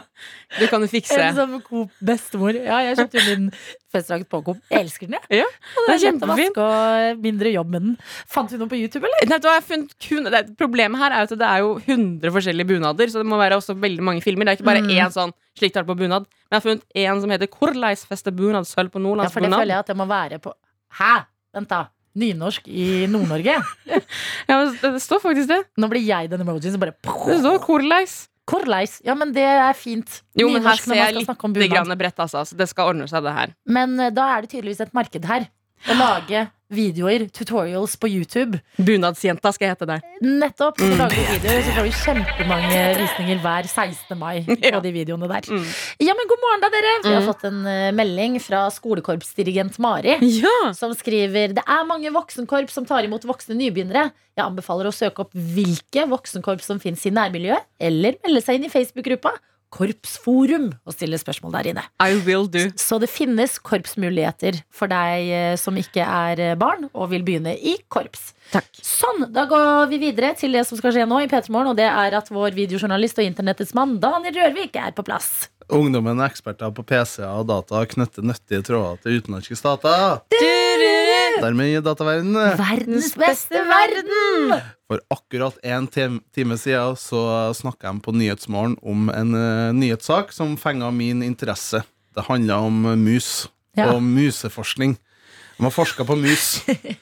E: Du kan jo fikse.
D: <laughs> en sånn Coop bestemor. Ja, jeg kjøpte jo min festdrakt på Coop. Jeg elsker den, jeg.
E: Ja,
D: og det er lett
E: den er
D: å
E: kjempefin.
D: vaske og mindre jobb med den. Fant vi noe på YouTube, eller?
E: Nei, vet du hva, jeg har funnet kun, det, problemet her er jo at det er jo 100 forskjellige bunader, så det må være også veldig mange filmer. Det er ikke bare
D: Mm.
E: én sånn slik tar på bunad. Men jeg har funnet én som heter 'Korleisfeste bunad sølv på
D: Ja, for det føler
E: nordlandsbunad'.
D: jeg at det må være på Hæ? Vent, da. Nynorsk i Nord-Norge?
E: Ja, men det, det står faktisk det.
D: Nå blir jeg den emojien som bare
E: Det står 'korleis'.
D: Korleis. Ja, men det er fint.
E: Jo, men her
D: Nynorsk når
E: ser
D: man
E: jeg
D: skal snakke om
E: litt
D: bunad.
E: grann bredt, altså. Så det skal ordne seg, det her.
D: Men eh, da er det tydeligvis et marked her. Å lage videoer, tutorials på YouTube.
E: Bunadsjenta skal jeg hete der.
D: Nettopp. Så lager vi videoer, så får vi kjempemange visninger hver 16. mai
E: Ja.
D: på de videoene der. Ja, men god morgen, da, dere. Vi har fått en eh, melding fra skolekorpsdirigent Mari.
E: Ja!
D: som skriver Det er mange voksenkorps som tar imot voksne nybegynnere. Jeg anbefaler å søke opp hvilke voksenkorps som finnes i nærmiljøet, eller melde seg inn i Facebook-gruppa Korpsforum og stille spørsmål der inne.
E: I will do.
D: Så det finnes korpsmuligheter for deg eh, som ikke er eh, barn og vil begynne i korps.
E: Takk.
D: Sånn, da går vi videre til det som skal skje nå i P3 Morgen, og det er at vår videojournalist og internettets mann Daniel Rørvik er på plass.
J: Ungdommen er eksperter på PC-er og data og knytter nyttige tråder til utenlandske stater. Dermed i dataverdenen.
D: Verdens beste verden!
J: For akkurat en tem- time siden så snakka jeg på Nyhetsmorgen om en eh, nyhetssak som fenga min interesse. Det handla om eh, mus
D: Ja.
J: og museforskning. De har forska på mus.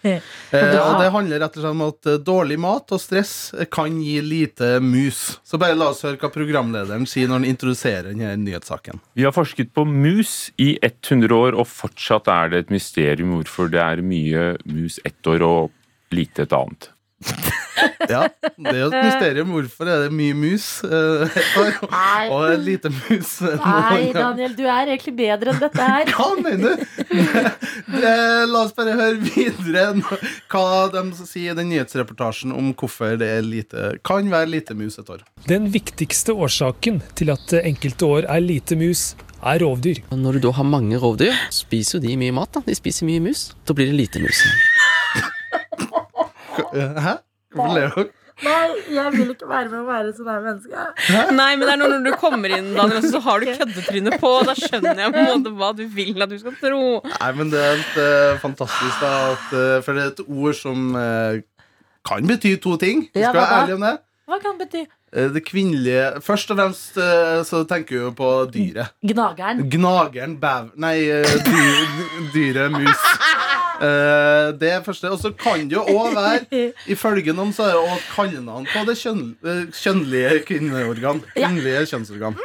J: Eh, og det handler rett og slett om at eh, dårlig mat og stress eh, kan gi lite mus. Så bare la oss høre hva programlederen sier når han introduserer denne nyhetssaken.
K: Vi har forsket på mus i 100 år, og fortsatt er det et mysterium hvorfor det er mye mus ett år og lite et annet.
J: Ja, det er jo et mysterium. Hvorfor er det mye mus eh, et år,
D: Nei.
J: og et lite mus en
D: Nei,
J: annen gang?
D: Daniel, du er egentlig bedre enn dette
J: <laughs>
D: her.
J: Hva mener du? Eh, La oss bare høre videre nå hva de sier i den nyhetsreportasjen om hvorfor det er lite, kan være lite mus et år.
L: Den viktigste årsaken til at det enkelte år er lite mus, er rovdyr.
B: Når du da har mange rovdyr, spiser jo de mye mat. da. De spiser mye mus. Da blir det lite mus.
J: Eh, Hæ? Hvorfor ler dere?
D: Nei, jeg vil ikke være med å være sånn her menneske.
E: Nei, men det er noe når du kommer inn, Daniel, også, så har du køddetrynet på. og Da skjønner jeg på en måte hva du vil at du skal tro.
J: Nei, men det er helt eh, fantastisk da, at, eh, For det er et ord som eh, kan bety to ting Vi
D: Ja,
J: skal være
D: hva da?
J: ærlig om det
D: Hva kan det bety?
J: Eh, Det kvinnelige Først og fremst eh, så tenker vi jo på dyret
D: Gnageren.
J: Gnageren, bev Nei, eh, dy- dyret, mus Eh, Det er første Og så kan det jo også være Ifølge noen så er det også kallenavn på det kjønn, eh, kjønnlige kvinneorgan Kvinnelige kjønnsorgan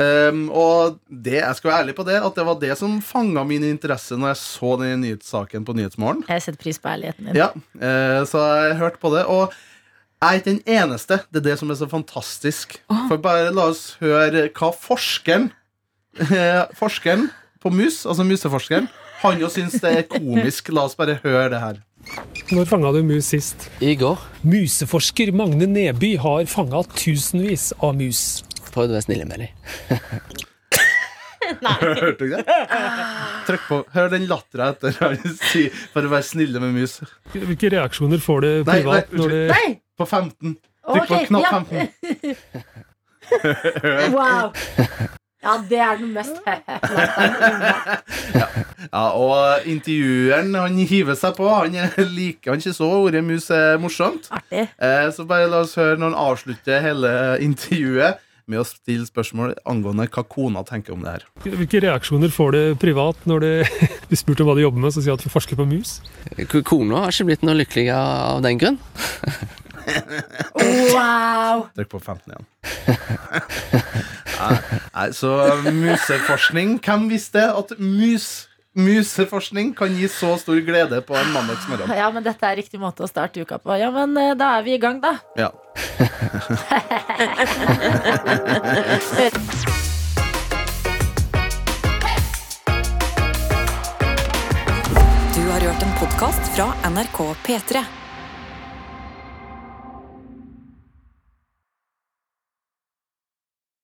J: Ehm, og det, jeg skal være ærlig på det, at det var det som fanga min interesse når jeg så den nyhetssaken på Nyhetsmorgen.
D: Jeg setter pris på ærligheten din.
J: Ja, eh, så jeg hørte på det. Og jeg er ikke den eneste. Det er det som er så fantastisk. For bare la oss høre hva forskeren <laughs> eh, Forskeren på mus, altså museforskeren, han jo syns det er komisk. La oss bare høre det her.
L: Når fanga du mus sist?
B: I går.
L: Museforsker Magne Neby har fanga tusenvis av mus.
B: Prøv å være snille med dem.
J: Hørte du ikke det? Trykk på. Hør den lattera etter han sier for å være snille med mus.
L: Hvilke reaksjoner får du
J: Nei, nei,
L: privat når
J: unnskyld.
L: du
J: Nei! På 15. Trykk på
D: Ok,
J: knapp
D: ja.
J: 15.
D: <laughs> Wow. Ja, det er den mest <laughs>
J: Ja, og eh, intervjueren han hiver seg på. Han er <laughs> like, han ikke så ordet mus er morsomt.
D: Artig.
J: Eh, så bare la oss høre når han avslutter hele <laughs> intervjuet med å stille spørsmål angående hva kona tenker om det her.
L: Hvilke reaksjoner får du privat når du blir spurt om hva du jobber med, så sier du at du forsker på mus?
B: K- Kona har ikke blitt noe lykkelig av den grunn.
D: Wow.
J: Trykk på
L: <laughs>
J: 15 igjen. Nei, nei, så museforskning Hvem visste at mus museforskning kan gi så stor glede på en mandagsmorgen?
D: Ja, men dette er riktig måte å starte uka på. Ja, men eh, da er vi i gang, da.
J: Ja.
A: Du har hørt en podkast fra NRK P3.